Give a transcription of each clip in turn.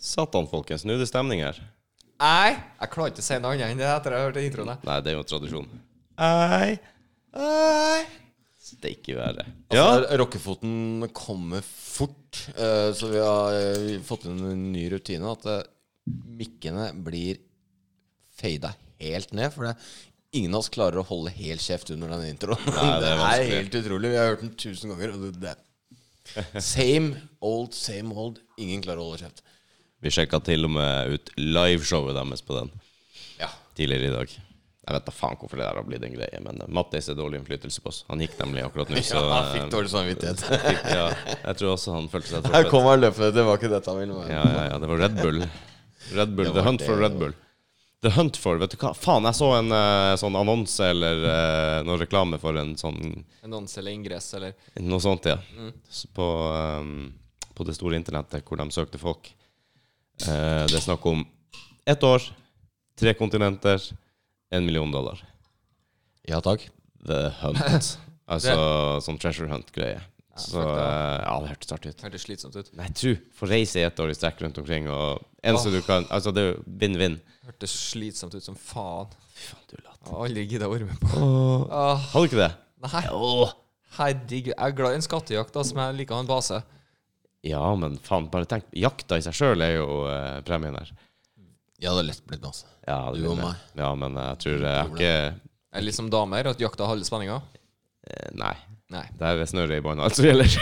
Satan, folkens. Nå er det stemning her. Nei, jeg klarer ikke å si noe annet enn det etter jeg har hørt den introen. jeg. Nei, det er jo tradisjon. Ei, ei. Steike være. Altså, Rockefoten kommer fort, eh, så vi har eh, fått inn en ny rutine. At eh, mikkene blir fada helt ned. For det, ingen av oss klarer å holde helt kjeft under den introen. Nei, det, det er er vanskelig. helt utrolig. Vi har hørt den tusen ganger. Og det, det. Same old, same old. Ingen klarer å holde kjeft. Vi sjekka til og med ut liveshowet deres på den Ja. tidligere i dag. Jeg vet da faen hvorfor det der har blitt en greie, men eh, Mattis er dårlig innflytelse på oss. Han gikk nemlig akkurat nå, så ja, han eh, fikk dårlig samvittighet. fikk- ja, jeg tror også han følte seg Her truffet. kom han løpende. Det var ikke dette han ville være. Ja, ja, ja, det var Red Bull. Red Bull, Det The var Hunt det, for det Red var- Bull. The Hunt for, vet du hva? Faen, jeg så en eh, sånn annonse eller eh, noen reklame for en sånn Annonse eller ingress eller Noe sånt, ja. S- På, ehm, på det store internettet hvor de søkte folk. Eh, det er snakk om ett år, tre kontinenter, én million dollar. Ja takk. The Hunt. altså sånn treasure hunt-greie. Så fuck det. eh, ja, det hørtes artig ut. Hørtes slitsomt ut. Nei, tru, få reise i ett år i strekk rundt omkring, og eneste du kan Altså, det er jo vinn-vinn. Hørtes slitsomt ut som faen. Fy faen, du latt. Jeg har aldri gidda å være med på. Åh. Åh, Har du ikke det? nei, hei, digg. Jeg er glad i en skattejakt, da, som jeg liker å ha en base. Ja, men faen, bare tenk. Jakta i seg sjøl er jo eh, premien her. Ja, det er lett blitt masse. Ja, det Du blir og det. meg. Ja, men jeg tror eh, jeg har ikke Er det litt som damer, at jakta har alle spenninga? Eh, Nei. Nei. Det er snøret i bånn alt som gjelder.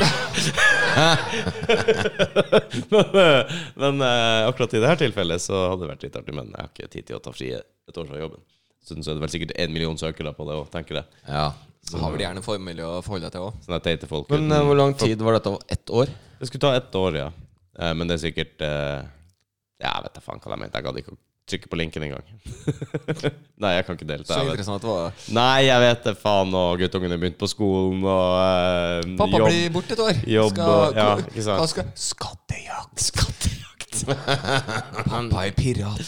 men eh, men eh, akkurat i det her tilfellet så hadde det vært litt artig, men jeg har ikke tid til å ta fri et år fra jobben. Så så er det vel sikkert én million søkere på det òg, tenker jeg. Sånn Ja. Så har vel gjerne formel å forholde deg til òg. Sånne teite folk. Men uten- eh, hvor lang tid var dette? Ett år? Det skulle ta ett år, ja. Eh, Men det er sikkert eh, Ja, jeg vet da faen hva de mente. Jeg gadd ikke å trykke på linken engang. Nei, jeg kan ikke delta. Så Jeg vet. interessant var det. Nei, jeg vet det, faen. Og guttungene begynte på skolen, og eh, Pappa jobb. blir borte et år. jobb og- ja, ikke sant. hva skal Skattejakt! Skattejakt! Pappa er pirat.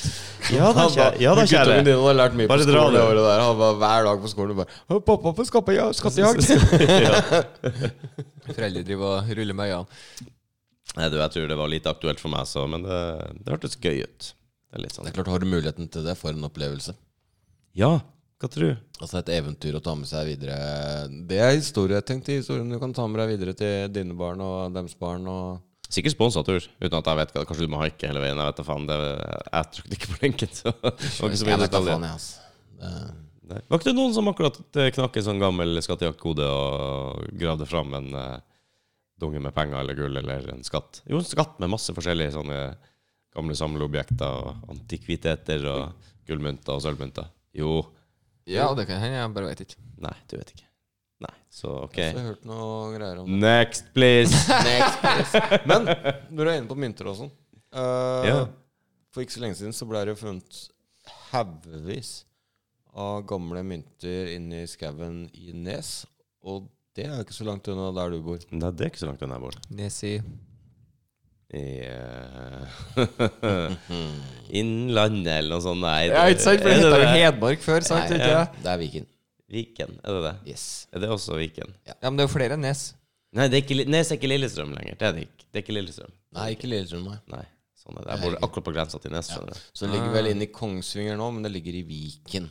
Ja da, kjære. Ja, da, Guttungen kjære. din hadde lært mye Bare på dra skolen det det. året der. Han var hver dag på skolen og bare «Å, 'Pappa får skape ja, skattejakt'. Foreldre driver og ruller med øynene. Nei, du, jeg tror det var lite aktuelt for meg, så, men det, det hørtes gøy ut. Det er litt Det sånn er klart, Har du muligheten til det, for en opplevelse. Ja, hva tror du? Altså Et eventyr å ta med seg videre. Det er historie, tenk til historien du kan ta med deg videre til dine barn og deres barn. og Sikkert sponsa tur, uten at jeg vet hva Kanskje du må haike hele veien. Jeg vet da faen. Det, jeg trykket ikke på linken, så det var ikke så mye Jeg vet da detaljer. faen, jeg, altså. Det- Nei. Var ikke det noen som akkurat eh, knakk en sånn gammel skattjaktkode og gravde fram en eh, dunge med penger eller gull eller en skatt? Jo, en skatt med masse forskjellige sånne gamle samleobjekter og antikviteter og gullmynter og sølvmynter. Jo. Ja, det kan hende. Jeg bare veit ikke. Nei, du vet ikke. Nei, så OK. Jeg har hørt noe greier om det. Next, please! Men når du er inne på mynter og sånn eh, Ja. For ikke så lenge siden så ble det jo funnet haugevis av gamle mynter inne i skauen i Nes. Og det er jo ikke så langt unna der du bor. Nei, det er ikke så langt unna, Bård. Nesi. I eh, Innlandet eller noe sånt. Nei, Mhm. Ja, ikke sant? For det er heter jo det? Hedmark før, sant? Ja, Ikke? ja. Det er Viken. Viken, er det det? Yes. Er det også Viken? Ja. men det er jo flere enn Nes. Nei, det er ikke, Li- Nes er ikke Lillestrøm lenger. Det er det ikke. Det er ikke Lillestrøm. Nei, ikke Lillestrøm, nei. Nei. Sånn er det. Jeg bor akkurat på grensa til Nes. skjønner du. Så det ligger vel inne i Kongsvinger nå, men det ligger i Viken.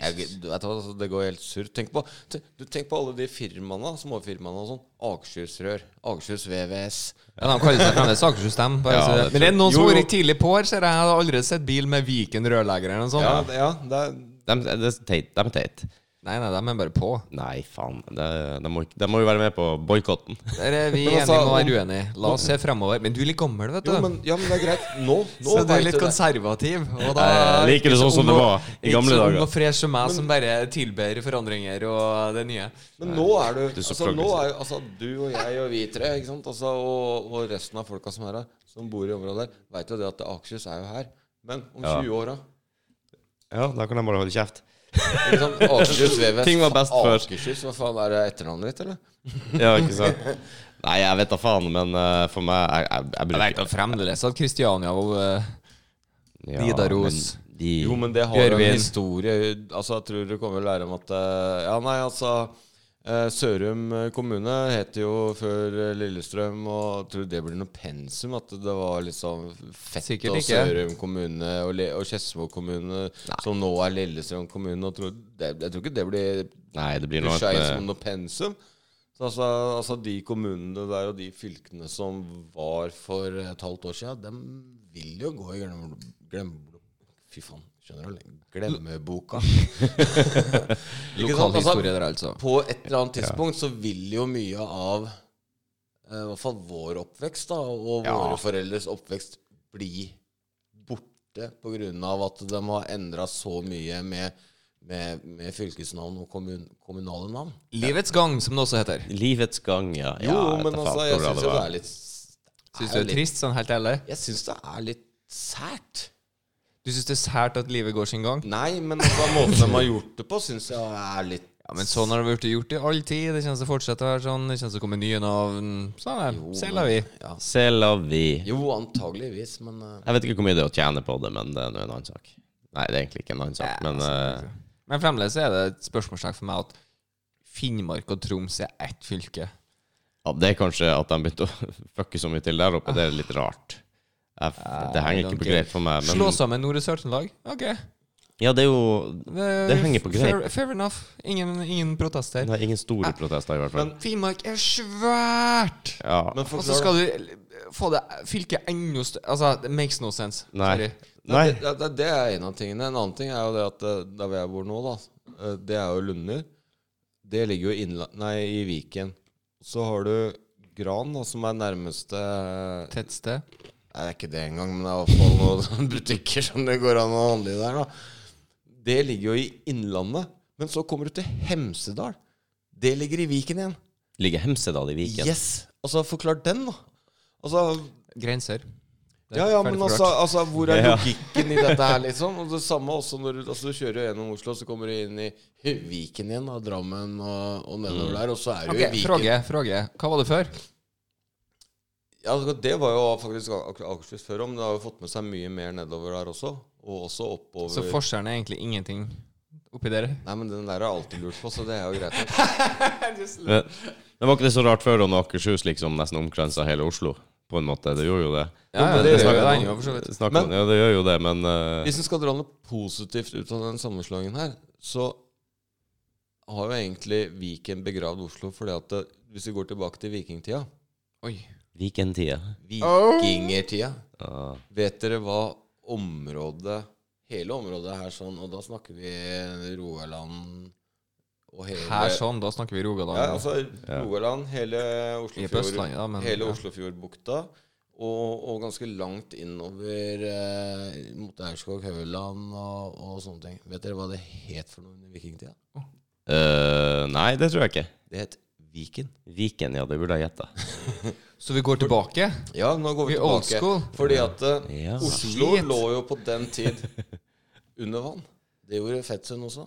Jeg, du vet hva, altså, det går helt surr. Tenk på, te- du tenk på alle de firmaene, småfirmaene og sånn. Akershusrør, Akershus VVS. Ja, De kaller seg fremdeles Akershus, dem. bare Ja, så det det- Men det er noen som tror har jeg. vært tidlig på her, ser jeg. Jeg har aldri sett bil med Viken rørlegger eller noe sånt. Ja, ja det er De, det er eh, teit. De er teit. Nei, nei, de er bare på. Nei, faen. Det, de, må, ikke- de må jo være med på boikotten. Der er vi Men enige altså, om å være uenige. La oss se framover. Men du er litt gammel, vet du. Jo, men, ja, men det er greit. Nå, nå Så du er vet litt du det. konservativ? Og da Jeg liker det ikke så sånn som ung det og- var i gamle Ikke så dager. ung og fresh som meg, som bare tilber forandringer og det nye. Men nå er du, Du er så altså, nå progressiv. er, jo- altså, Du og jeg og vi tre ikke sant? Altså, og, og resten av folka som er her, som bor i området her, veit jo det at Akershus er jo her. Men om Ja. 20 år, da? Ja, da kan de bare holde kjeft. Ikke sant? Akershus VVS. Ting var best før. Akershus, hva faen er det etternavnet ditt, eller? Ja, ikke sant? Nei, jeg vet da faen, men eh, for meg Jeg, jeg, jeg Jeg bruker vet da fremdeles at Kristiania og eh, Ja, Nidaros. men De, Jo, men det har Gjør jo vi en- en historie Altså, jeg tror du kommer til å lære om at eh, Ja, nei, altså eh, Sørum kommune het jo før eh, Lillestrøm, og jeg tror det blir noe pensum at det var liksom Fett Sikkert og ikke. Sørum kommune og, Le- og Skedsmo kommune, som nå er Lillestrøm kommune. Og tror, det, jeg tror ikke det blir Nei, det blir noe pusha inn som annet. noe pensum. Så altså, altså de kommunene der og de fylkene som var for et halvt år siden, de vil jo gå i glemme... glem, fy faen, skjønner du? Glemmeboka. Ikke sant? Lokalhistorie der, altså. På et eller annet tidspunkt så vil jo mye av eh, i hvert fall vår oppvekst da, og Ja. våre foreldres oppvekst bli borte på grunn av at de har endra så mye med, med, med fylkesnavn og kommun, kommunale navn. Livets gang, som det også heter. Livets gang, ja. Jo, ja, men altså, jeg syns jo det er litt Syns du det er trist, sånn helt ærlig? Jeg syns det er litt sært. Du syns det er sært at livet går sin gang? Nei, men altså, måten de har gjort det på, syns jeg er litt Ja, Men sånn har det blitt gjort i all tid. Det kommer til å fortsette å være sånn. Det kommer til å komme nye navn. Sånn er det. Selv er vi. Ja. Selavi. Jo, antageligvis, men eh, Jeg vet ikke hvor mye det er å tjene på det, men det er nå en annen sak. Nei, det er egentlig ikke en annen sak, altså, men eh, Men fremdeles er det et spørsmålstegn for meg at Finnmark og Troms er ett fylke. ja, det er kanskje at de begynte å fucke så mye til der oppe. Det er litt rart. Jeg, f- det henger ikke på greit for meg. Slå Men sammen Nord- og Sør-Trøndelag? Ok. ja, det er jo Det, Det henger på greip. Fair, fair enough. Ingen, ingen protester. Det er ingen store protester, i hvert fall. Finnmark er svært! Ja. Men Og så forklar skal du få det fylket enda større Altså, it makes no sense. Nei. Sorry. Nei. Det, det, det er en av tingene. En annen ting er jo det at eh, der hvor jeg bor nå, da, eh, det er jo Lunder. Det ligger jo innla nei, i Viken. Så har du Gran, da, som er nærmeste eh, Nei, Tettsted. Det er ikke det engang, men det er i hvert fall noen butikker som det går an å handle i der. da. Det ligger jo i Innlandet. Men så kommer du til Hemsedal. Det ligger i Viken igjen. Ligger Hemsedal i Viken? Yes! Altså, forklar den, da. Altså, Grenser. Det er ja, ja, ferdig men forklart. altså, altså Hvor er Ja. logikken i dette her, liksom? Og det samme også når du, altså, du kjører jo gjennom Oslo, så kommer du inn i Viken igjen, da, Drammen og, og nedover der, og så er du Ok, i Viken. Fråge, fråge. Hva var det før? Ja, altså, det var jo faktisk Ak- Akershus før om, men det har jo fått med seg mye mer nedover der også. Og også oppover Så forskjellen er egentlig ingenting oppi der? Nei, men den der har jeg alltid lurt på, så det er jo greit. Men men var ikke det så rart før, da når Akershus liksom nesten omkransa hele Oslo? På en måte. Det gjorde jo det. Ja, ja, men det det gjør snakker jeg jeg nå. om, for så vidt. Snakk Men- om- ja, det gjør jo det, men eh, Hvis en skal dra noe positivt ut av den sammenslåingen her, så har jo egentlig Viken begravd Oslo, fordi at det, hvis vi går tilbake til vikingtida Oi. Vikentida. Vikingertida. Ja. Vet dere hva området Hele området her sånn, og da snakker vi Rogaland og hele Her sånn, da snakker vi Rogaland. Ja, altså Rogaland, hele Vi er på Oslofjord, Østlandet, da, men hele ja. Oslofjordbukta og, og ganske langt innover eh, mot Aurskog, Høland og, og sånne ting. Vet dere hva det het for noe under vikingtida? Eh, nei, det tror jeg ikke. Det het Viken. Viken, ja, det burde jeg gjetta. Så vi går tilbake? Ja, nå går vi Vi er old tilbake. school. Fordi at eh, Ja. Oslo Shit. lå jo på den tid under vann. Det gjorde Fetsund også.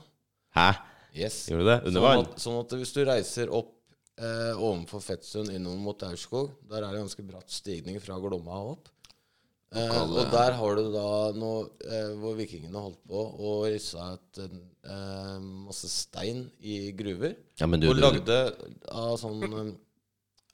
Hæ? Yes. Gjorde du det? Under vann? Sånn at, sånn at hvis du reiser opp eh, ovenfor Fettsund innover mot Aurskog, der er det ganske bratt stigning fra Glomma og opp. Eh, og der har du da noe eh, hvor vikingene holdt på og rissa ut en eh, masse stein i gruver. Ja, men du, og du, du lagde av sånn eh,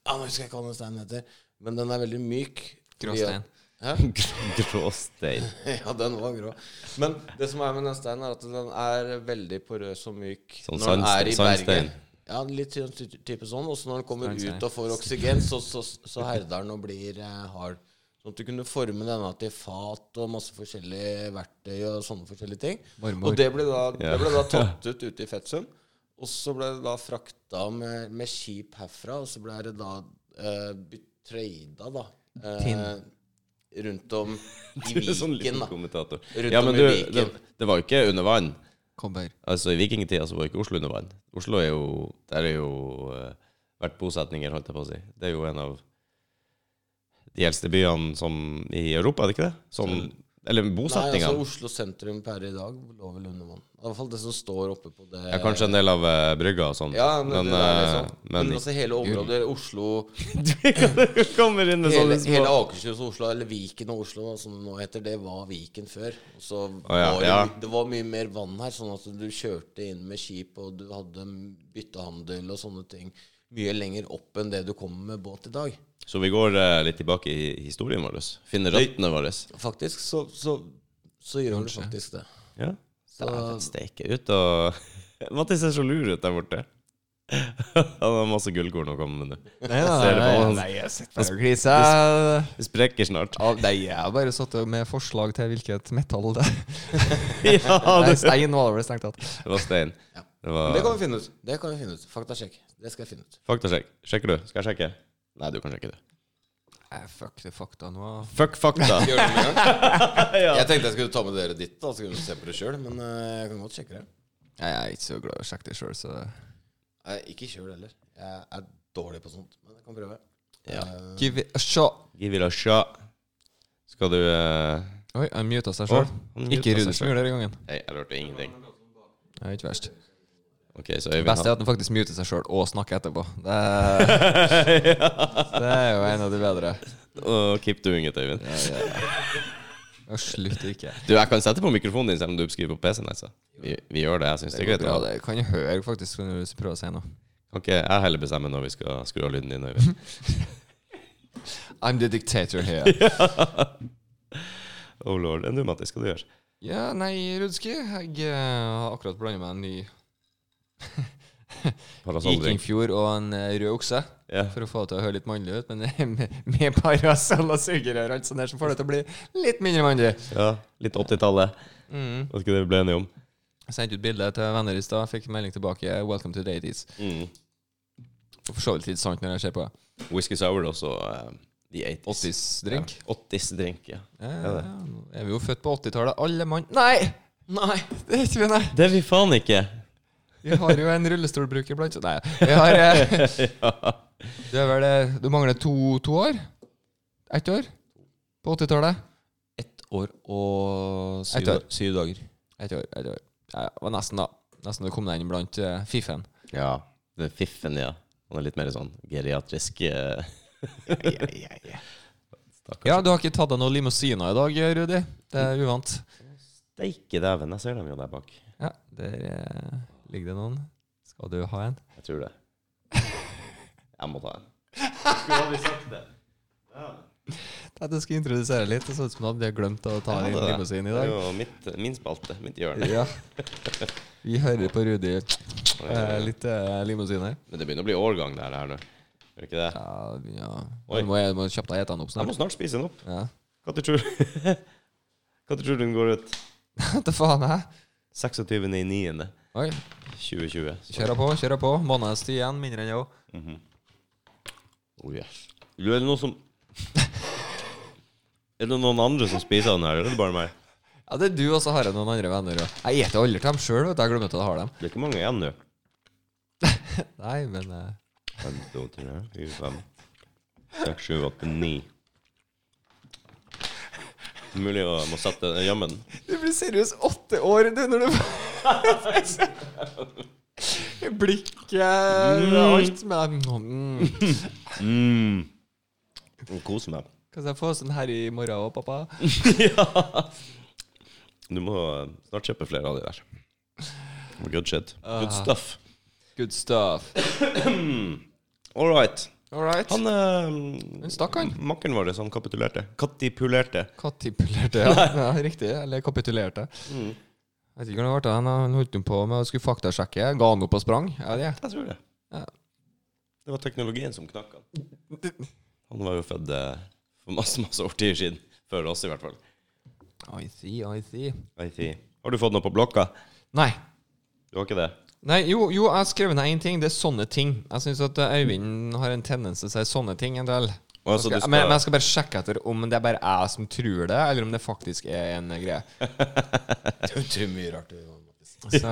ah, Nå husker jeg ikke hva den steinen heter, men den er veldig myk. Gråstein. Hæ? Gråstein. Ja, den var grå. Men det som er med den steinen, er at den er veldig porøs og myk Sånn når den sandstein- er i sandstein. berget. Ja, litt sånn ty- type sånn. Og så når den kommer Sandstein. ut og får oksygen, så, så, så herder den og blir eh, hard. Sånn at du kunne forme denne til fat og masse forskjellige verktøy og sånne forskjellige ting. Marmor. Og det ble da, Ja. det ble da tatt ut ute i Fettsund. Og så ble det da frakta med, med skip herfra, og så ble det da eh, bytt- trada, da. Eh, rundt om i Du er sånn liten Viken, da. kommentator. Rundt ja, om men i du, Viken. det, det var jo ikke under vann. Kom her. Altså, I vikingtida så var jo ikke Oslo under vann. Oslo er jo Der er jo eh, vært bosetninger, holdt jeg på å si. Det er jo en av de eldste byene som i Europa, er det ikke det? Sånn, eller Nei, altså bosetningene. Oslo sentrum per i dag lå vel under vann. I hvert fall det som står oppe på det ja, kanskje en del av eh, brygga og sånn. Ja, men, det der, eh, liksom. men, men altså hele området Oslo Du kommer inn med sånne hele, små hele Akershus og Oslo, eller Viken og Oslo, da, som det nå heter, det var Viken før. Og så ja, var det, ja. det var mye mer vann her, sånn at du kjørte inn med skip, og du hadde byttehandel og sånne ting mye lenger opp enn det du kommer med båt i dag. Så vi går eh, litt tilbake i historien vår. Finner røttene våre. Faktisk så, så, så gjør du faktisk det. Ja. Så- Dæven steike ut og Mattis ser så lur ut der borte. Han har masse gullkorn å komme med nå. Nei, Ser det på nei, han. nei, jeg sitter bare og gliser. Det sprekker snart. Ja, Nei, jeg har bare satt med forslag til hvilket metall det Ja, Nei, det stein var det vel strengt tatt. det var stein. Ja. Det Men Det var kan vi finne ut. Det kan vi finne ut. Faktasjekk. Det skal jeg finne ut. Faktasjekk. Sjekker du? Skal jeg sjekke? Nei, du kan sjekke det. Nei, fuck det fakta nå. Fuck fakta. Gjør det med en gang. Jeg tenkte jeg skulle ta med dere ditt, da, så kunne du se på det sjøl. Men eh, jeg kan godt sjekke det. Nei, jeg er ikke så glad i å sjekke det sjøl, så Nei, ikke kjøl heller. Jeg er dårlig på sånt, men jeg kan prøve. Ja. Eh, Give it a shot. Give it a shot. Skal du eh, Oi, han muta seg å, sjøl. han mutet Ikke seg Rune som selv. gjorde det denne gangen. Nei, jeg hørte ingenting. Det er ikke verst. OK, så Det Øyvind beste er at han faktisk muter seg sjøl og snakker etterpå. Det er, det er jo en av de bedre. oh, Keep doing it, Øyvind. Og slutt ikke. Du, jeg kan sette på mikrofonen din selv om du skriver på PC-en. Altså. Vi, vi gjør det. Jeg syns det er greit. Bra, ja. det kan jeg høre faktisk når du prøver å si noe. Kan ikke jeg heller bestemme når vi skal skru av lyden din, Øyvind? I'm the dictator here. Oh lord. Enn du, Mattis, skal du gjøre? Ja, nei, Rudski. Jeg eh, har akkurat blanda meg en ny Altså, Parasolldrink. vikingfjord og en eh, rød okse. Ja. For å få det til å høre litt mannlig ut, men med, med parasoll og sugerør og alt sånt der, så får det til å bli litt mindre mannlig. ja. Litt 80-tallet. Mm. Vet ikke det vi ble enige om. Jeg sendte ut bilde til venner i stad, fikk melding tilbake eh, 'Welcome to the 80s'. Mm. For så vidt litt sant når jeg ser på det. Whisky sour også. eh, The 80s. 80s-drink. Ja. 80s-drink, ja. Ja, Ja, det. nå er vi jo født på 80-tallet, alle mann Nei! Nei, det er ikke vi, nei. Det vil faen ikke! Vi har jo en rullestolbruker blant Nei, vi har eh, Du er vel eh, Du mangler to, to år? Ett år? På 80-tallet? Ett år og syv, Ett år. da- syv dager. Ett år. ett år Ja, det var nesten, da. Nesten du kom deg inn blant eh, fiffen. Ja. Det er fiffen, ja. Han er litt mer sånn geriatrisk. eh, Stakkars. Ja, du har ikke tatt deg noen limousiner i dag, Rudi. Det er uvant. Steike dæven, jeg ser dem jo der bak. Ja, der eh, ligger det noen. Skal du ha en? Jeg tror det. Jeg må ta en. Skulle aldri sagt det. Nei, Du skal introdusere litt. Det så ut som du hadde glemt å ta Jeg din hadde det. limousin i Det er dag. jo mitt, min spalte. Mitt hjørne. Ja. Vi hører på Rudi eh, litt eh, limousin her. Men det begynner å bli årgang, det her nå. Gjør det ikke det? Ja, ja. Oi. Du må, jeg må kjapt deg ete den opp Jeg må snart. snart spise den opp. Ja. Når tror Hva tror du den går ut? Hva faen, hæ? 26.9.2020. Oi, Så- kjører på, kjører på. Måneds tid igjen, mindre enn jeg òg. Oh, yes. Du, er det noen som Er det noen andre som spiser den her, eller er det bare meg? Ja, det er du, og så har jeg noen andre venner òg. Jeg spiser aldri til dem sjøl, vet du. Jeg glemmer at jeg har dem. Det er ikke mange igjen nå. Nei, men eh, En, to, tre, fire, fem, seks, sju, åtte, ni. Mulig å må sette gjemme den. Du blir seriøst åtte år du, når du Blikket alt med mm. Mm. Kos Mm. meg. Kan jeg få sånn her i morgen òg, pappa? Du må eh, snart kjøpe flere av de der. Good shit. Ah. Good stuff. Hmm. Good stuff. All right. All right. Han eh, Men stakk han. Makkeren vår som kapitulerte. Katipulerte. Katipulerte, ja. ja. Riktig. Eller kapitulerte. Jeg vet ikke hvordan det ble av han. Han holdt jo på med å skulle faktasjekke. Ga han opp og sprang? Ja, det er Jeg tror det. Ja. Det var teknologien som knakk han. Han var jo født eh, for masse, masse årtier siden. Før oss, i hvert fall. I see, I see. I see. Har du fått noe på blokka? Nei. Du har ikke det? Nei, jo, jo, jeg har skrevet ned én ting. Det er sånne ting. Jeg syns at eh, Øyvind har en tendens til å si sånne ting en del. Og altså, du Jeg skal, men, skal- men jeg skal bare sjekke etter om det er bare jeg som tror det, eller om det faktisk er en eh, greie. Det er utrolig mye rart. du- Så,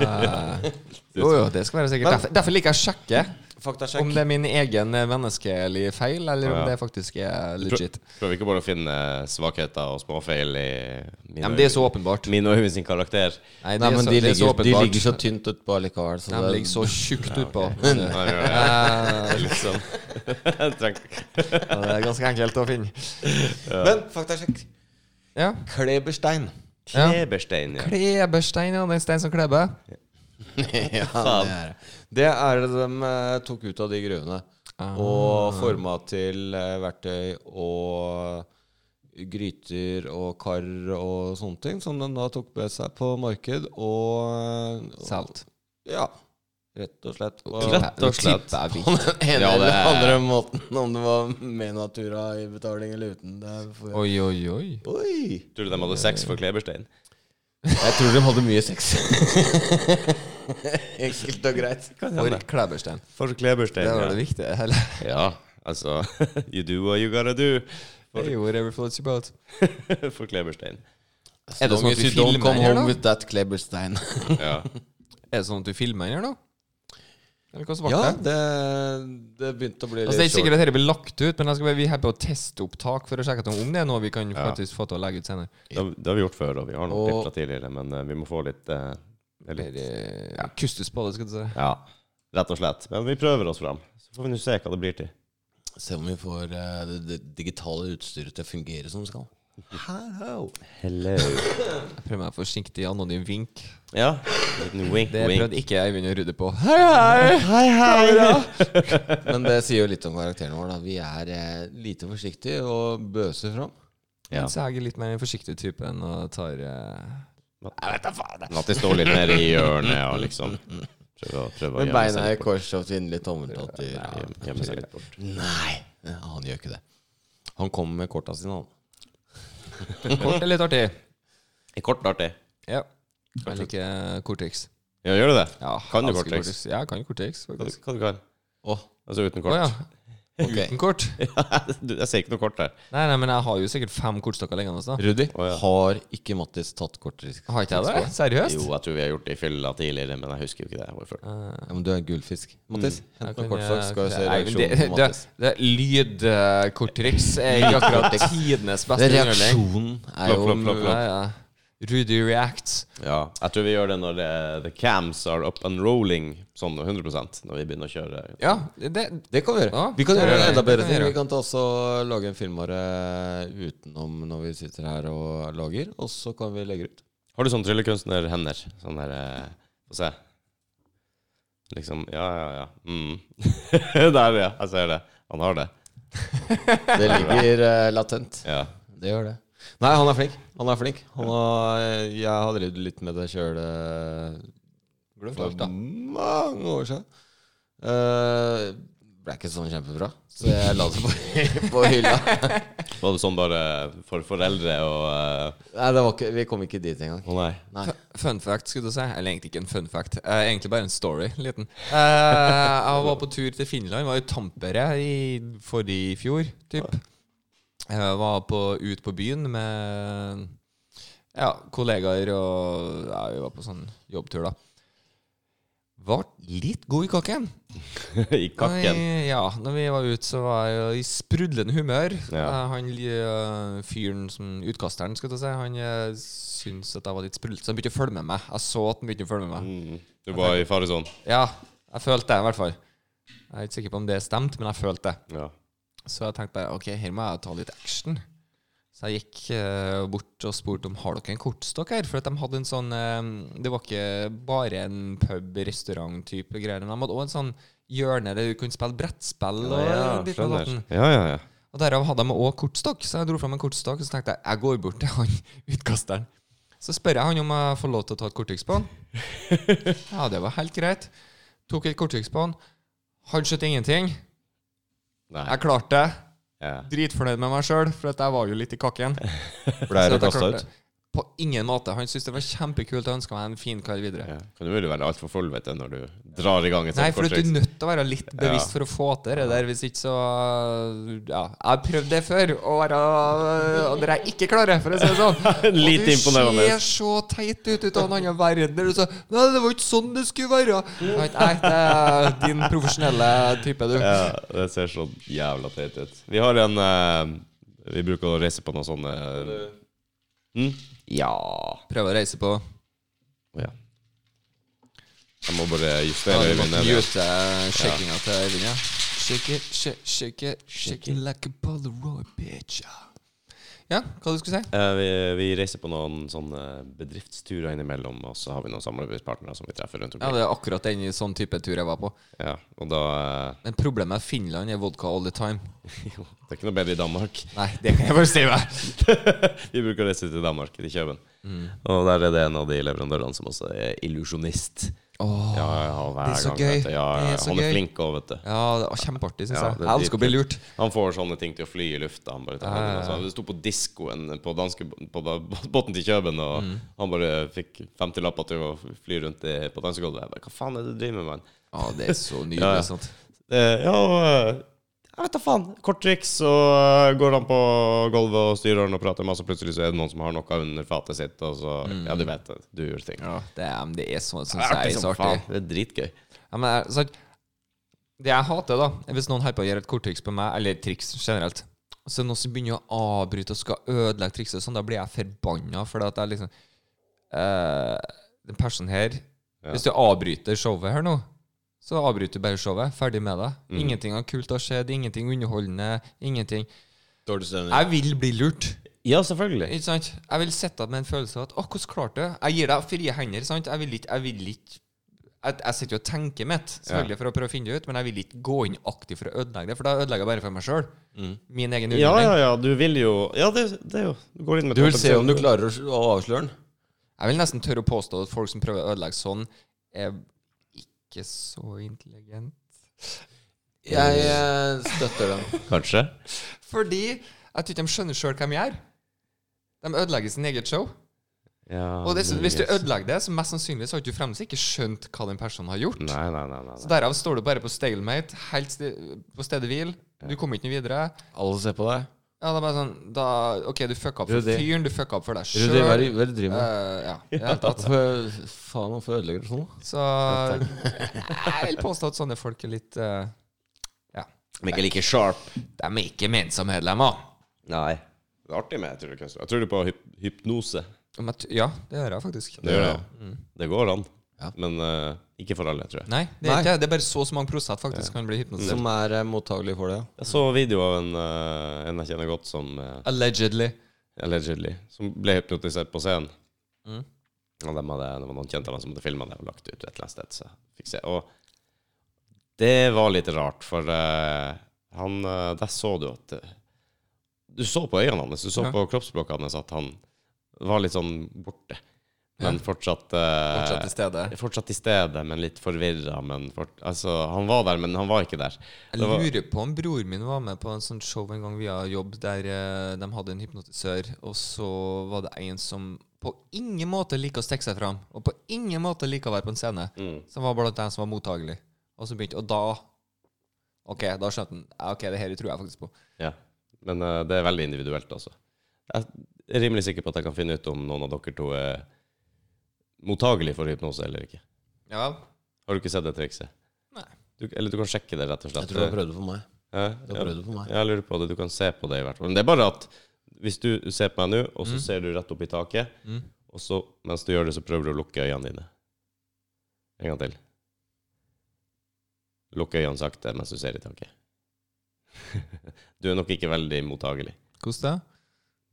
jo, jo, det skal være sikkert. Derfor, derfor liker jeg å sjekke Faktasjekk. om det er min egen eh, menneskelige feil, eller Ja. om det faktisk er legit. Prøv- Prøver ikke bare å finne eh, svakheter og småfeil i min Ja, men det er så åpenbart. Min og Øyvind sin karakter. Nei, det Nei, er men så- de det er så ligger, de åpenbart. ligger så tynt utpå allikevel. Så De det- ligger så tjukt utpå. Nei, gjør det. Eh, Liksom. Jeg trenger- ja, det er ganske enkelt å finne. Men faktasjekk. Ja. Kleberstein. Ja. Kleberstein, ja. Kleberstein, ja. Den steinen som kleber. ja, det er det. Det er det de eh, tok ut av de gruvene. Og forma til eh, verktøy og gryter og kar og sånne ting, som de da tok med seg på marked og eh, Salt. Ja, rett og slett. Og Rett og slett. Tipper jeg vi- På den ene Ja, det- eller andre måten, om det var med Natura i betaling eller uten. Det er for... Oi, oi, oi. Oi! Tror du de hadde sex for kleberstein? Jeg tror de hadde mye sex. Enkelt og greit. For Kleberstein. For kleberstein, Det var det ja. viktige. Eller? ja. Altså You do what you gotta do Hey, whatever floats your boat. for kleberstein. Er det sånn at vi filmer her nå? with that Kleberstein. Ja. Er det sånn at du filmer den her, da? Eller hva som ble ja, det? det, det begynte å bli Altså, det er ikke sikkert at dette blir lagt ut, men jeg skal bare, vi er her på testopptak for å sjekke at om det er noe vi kan Ja. faktisk få til å legge ut senere. Det, har- det har vi gjort før, og vi har nok Og- tipsa tidligere, men eh, vi må få litt, eh, litt Eller eh, kustus på det, skal du si. Ja, rett og slett. Men vi prøver oss fram. Så får vi nå se hva det blir til. Se om vi får eh, det, det digitale utstyret til å fungere som det skal. Hello. Hello. Jeg prøver meg forsiktig anonym vink. Ja. En liten wink, Det wink. prøvde ikke Øyvind å rydde på. Hei, hei! Hei, hei, Men det sier jo litt om karakteren vår. da Vi er eh, lite forsiktige og bøser fram. Ja. Så jeg er litt mer den forsiktige typen og tar eh, Jeg vet da faen! Men At de står litt mer i hjørnet og liksom prøver å prøver å Med gjemme beina seg i litt bort. kors og tvinnelig tommeltatter. Ja, gjemme- gjemme seg litt bort. Nei, han gjør ikke det. Han kommer med korta sine, han. Kort er litt artig. I kort artig. Ja. Jeg liker eh, korttriks. Ja, gjør du det? Ja, Kan du elsker korttriks? Ja, jeg kan jo korttriks. Hva faktisk. du- hva du kan? Åh, Altså uten Å kort? ja. ok. Uten kort? Du, jeg ser ikke noe kort her. Nei, nei, men jeg har jo sikkert fem kortstokker liggende. da. Rudi, Å, ja. har ikke Mattis tatt kortrisk? Har ikke jeg det? Seriøst? Jo, jeg tror vi har gjort det i fylla tidligere, men jeg husker jo ikke det. Hvorfor? Eh, Ja, men du er en gullfisk. Mattis, jeg hent Mm. kan- eh, noen kortsak, skal vi se Nei, men reaksjonen det- på det- Mattis. det- Lydkorttriks er ikke akkurat tidenes beste underholdning. Reaksjonen er Plopp, jo plopp, plopp, plopp. Ja, ja. Rudy reacts. Ja, jeg tror vi gjør det når det, the cams are up and rolling, sånn 100 når vi begynner å kjøre. Ja, det, Det kan vi gjøre. Ja, vi kan det gjøre gjør det. enda Det bedre kan vi ting. gjøre. Vi kan ta oss og lage en filmare utenom når vi sitter her og lager, og så kan vi legge det ut. Har du sånn tryllekunstnerhender? Sånn der eh, Få se. Liksom Ja, ja, ja. Mm. Der, ja. Jeg ser det. Han har det. Det ligger eh, latent. Ja. Det gjør det. Nei, han er flink. Han er flink. Han har, jeg har drevet litt med det sjøl for da. mange år siden. Eh, ble ikke sånn kjempebra, så jeg la det på, på hylla. Var det sånn bare for foreldre og eh, Nei, det var ikke, Vi kom ikke dit engang. Å nei. Nei. Fun fact, skulle du si. Eller egentlig ikke en fun fact. Eh, egentlig bare en story. Liten. Eh, jeg var på tur til Finland. Var i Tampere i, forrige i fjor, typ. Jeg var på, ut på byen med ja, kollegaer og ja, Vi var på sånn jobbtur, da. Var litt god i kaken. I kakken. Nei, ja, når vi var ute, så var jeg jo i sprudlende humør. Ja. Eh, Han eh, fyren som utkasteren, skal jeg si, han eh, syntes at jeg var litt sprudlete, så han begynte å følge med meg. Jeg så at han begynte å følge med meg. Mm. Du var i faresonen? Ja, jeg følte det, i hvert fall. Jeg er ikke sikker på om det stemte, men jeg følte det. Ja. Så jeg tenkte bare ok, her må jeg ta litt action. Så jeg gikk eh, bort og spurte om har dere en kortstokk her. For at de hadde en sånn eh, Det var ikke bare en pub-restaurant-type greier. Men de hadde òg en sånn hjørne der du kunne spille brettspill. Og, ditt og skjønner. datten. Ja, ja, ja. og derav hadde de òg kortstokk. Så jeg dro fram en kortstokk og så tenkte jeg, jeg går bort til han utkasteren. Så spør jeg han om jeg får lov til å ta et korttriks på han. Ja, det var helt greit. Tok et korttriks på han. Han skjøt ingenting. Nei. Jeg klarte det Ja. dritfornøyd med meg sjøl, for at jeg var jo litt i kakken. Ble Så dere at jeg kasta klarte- ut? På ingen måte. Han syntes det var kjempekult og ønska meg en fin kar videre. Ja. Kan umulig være altfor follvete når du drar i gang et Nei, sånt for du er prosjekt. nødt til å være litt bevisst Ja. for å få til det der. Hvis ikke så Ja, jeg har prøvd det før, og, være, og dere er ikke klare, for å si det sånn. Litt imponerende. Og du ser så teit ut ut av en annen verden. Og du så, Nei, det var ikke sånn det skulle være. Nei, nei, det er din profesjonelle type, du. Ja, det ser så jævla teit ut. Vi har en eh, Vi bruker å reise på noen sånne hm? Ja. Prøve å reise på Å, ja. Jeg må bare justere øynene. ned. mute-shakinga eh, til Øyvind, ja. Shake it, shake, shake it, shake it like a Polaroid bitch. Ja, hva du skulle si? Eh, vi, vi reiser på noen sånne bedriftsturer innimellom, og så har vi noen samarbeidspartnere som vi treffer rundt Ja, omkring. det er akkurat den sånn type tur jeg var på. Ja, og da eh, Men problemet er Finland er vodka all the time. Jo, det er ikke noe bedre i Danmark. Nei, det kan jeg bare si meg. Vi bruker å reise til Danmark, til Kjøben. Og der er det en av de leverandørene som også er illusjonist. Åh. Ja, ja, hver det er så gang, gøy. vet du. Ja, ja, Det er så han er gøy. flink òg, vet du. Ja, det var kjempeartig, syns Ja, jeg. det er Jeg elsker å bli lurt. Han får sånne ting til å fly i lufta. Han bare tar hånden, og så- Det sto på diskoen på, danske, på da- båten til Kjøben, og han bare fikk 50 lapper til å fly rundt i, på dansegulvet. Jeg bare, Hva faen er det du driver med, mann? Ja, det er så nydelig. Ja, ja. sant? Eh, Ja, og eh, jeg vet da faen. Kort triks, og eh, går han på gulvet og styrer han og prater masse, og plutselig så er det noen som har noe under fatet sitt, og så Ja, du vet det. Du gjør ting. Ja, det er, men det er så, Det synes er jeg artig er som så artig. faen. Det er dritgøy. Ja, men jeg- sant? Det jeg hater, da, er hvis noen her på gjør et korttriks på meg, eller triks generelt, så er det noen som begynner å avbryte og skal ødelegge trikset, og sånn, da blir jeg forbanna, for at jeg liksom eh, Den personen her Ja. Hvis du avbryter showet her nå, så avbryter du bare showet. Ferdig med det. Ingenting av kult har skjedd, ingenting underholdende, ingenting. Dårlig stemning. Jeg vil bli lurt. Ja, selvfølgelig. Ikke sant? Jeg vil sitte med en følelse av at Å, hvordan klarte du? Jeg gir deg frie hender. sant? Jeg vil ikke Jeg, vil ikke, jeg, jeg sitter jo og tenker mitt selvfølgelig for å prøve å finne det ut, men jeg vil ikke gå inn aktivt for å ødelegge det, for da ødelegger jeg bare for meg sjøl. Min egen Mm. Ja, underholdning. ja, ja. Du vil jo Ja, det, det er jo Du går inn med Du vil toppen se selv. om du klarer å å avsløre den. Jeg vil nesten tørre å påstå at folk som prøver å ødelegge sånn, er ikke så intelligent. Jeg eh, støtter den. Kanskje. Fordi jeg tror ikke de skjønner sjøl hvem de gjør. De ødelegger sin eget show. Ja, Og det, er så- hvis du muligens. ødelegger det, så mest sannsynlig så har ikke du fremdeles ikke skjønt hva den personen har gjort. Nei, nei, nei. nei, Så nei. derav står du bare på stalemate, helt sti på stedet hvil. Du kommer ikke noe videre. Alle ser på deg. Ja, det er bare sånn da, OK, du fucka opp for Rudi. fyren, du fucka opp for deg sjøl. Rudi, hva er det hva er det du driver med? ja, i det hele tatt. Hvorfor, faen, hvorfor ødelegger du sånn? da? Så jeg vil påstå at sånne folk er litt eh, Ja. Men ikke like sharp. De er ikke ment som medlemmer. Nei. Det er artig med tryllekunst. Jeg tror du på hyp hypnose. Om jeg t- Ja, det gjør jeg faktisk. Det gjør det. Det går an. Ja. Men eh, ikke for alle, tror jeg. Nei, det er Nei. ikke det. Det er bare så så mange prosent faktisk kan bli hypnotisert. Som er eh, mottagelig for det. ja. Jeg så video av en, eh, en jeg kjenner godt, som eh, Allegedly. allegedly Som ble hypnotisert på scenen. Mm. Og dem hadde, det var noen kjente av dem som hadde filma det og lagt det ut et eller annet sted. Så jeg fikk se. Og det var litt rart, for eh, han eh, Der så du at eh, Du så på øynene hans, du så Ja. på kroppsspråket hans at han var litt sånn borte, men fortsatt eh, Fortsatt til stede. Fortsatt i stedet, men litt forvirra. Men fort, altså, han var der, men han var ikke der. Jeg Det var- lurer på om bror min var med på en sånn show en gang via jobb, der eh, de hadde en hypnotisør, og så var det en som på ingen måte liker å stikke seg fram, og på ingen måte liker å være på en scene, Mm. som var blant dem som var mottagelig. Og så begynte Og da OK, da skjønte han. Ja, OK, det her tror jeg faktisk på. Ja. Men eh, det er veldig individuelt, altså. Jeg er rimelig sikker på at jeg kan finne ut om noen av dere to er mottagelig for hypnose eller ikke. Ja vel? Har du ikke sett det trikset? Nei. Du, eller du kan sjekke det, rett og Jeg slett. tror du har prøvd det på meg. Hæ? Du har prøvd det på meg. Ja, jeg lurer på det. Du kan se på det, i hvert fall. Men det er bare at hvis du ser på meg nå, og så Mm. ser du rett opp i taket, Mm. og så mens du gjør det, så prøver du å lukke øynene dine. En gang til. Lukk øynene sakte mens du ser i taket. du er nok ikke veldig mottagelig. Hvordan det?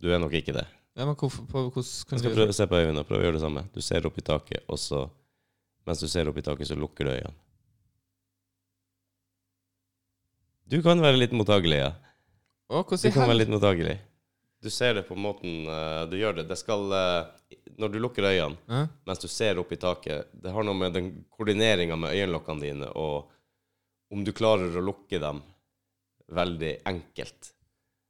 Du er nok ikke det. Ja, men hvorfor på, hvordan Jeg kan skal du prøve å se på øynene og prøve å gjøre det samme. Du ser opp i taket, og så Mens du ser opp i taket, så lukker du øynene. Du kan være litt mottagelig, ja. Å, hvordan Du i kan være hel- litt mottagelig. Du ser det på måten eh, du gjør det. Det skal eh, Når du lukker øynene Hæ? mens du ser opp i taket Det har noe med den koordineringa med øyenlokkene dine og om du klarer å lukke dem veldig enkelt,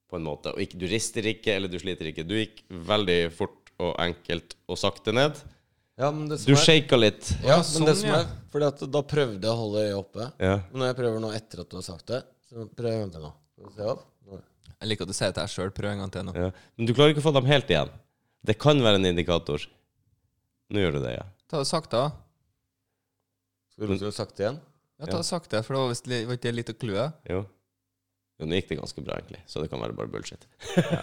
på en måte. Og ikke, du rister ikke, eller du sliter ikke. Du gikk veldig fort og enkelt og sakte ned. Ja, men det som Du er, shaka litt. ja, Ja, men det sånn, som ja. er Fordi at da prøvde jeg å holde øyet oppe. Ja. Men når jeg prøver nå etter at du har sagt det, så prøver jeg å vente nå. Skal vi se opp? Nå. Jeg liker at du sier det til deg sjøl. Prøv en gang til nå. Ja. Men du klarer ikke å få dem helt igjen. Det kan være en indikator. Nå gjør du det, ja. Ta det sakte. da. Skal du skal du sakte igjen? Ja, ta Ja. det sakte, for det var visst li- var ikke det litt å klue. Jo. Jo, nå gikk det ganske bra, egentlig, så det kan være bare bullshit.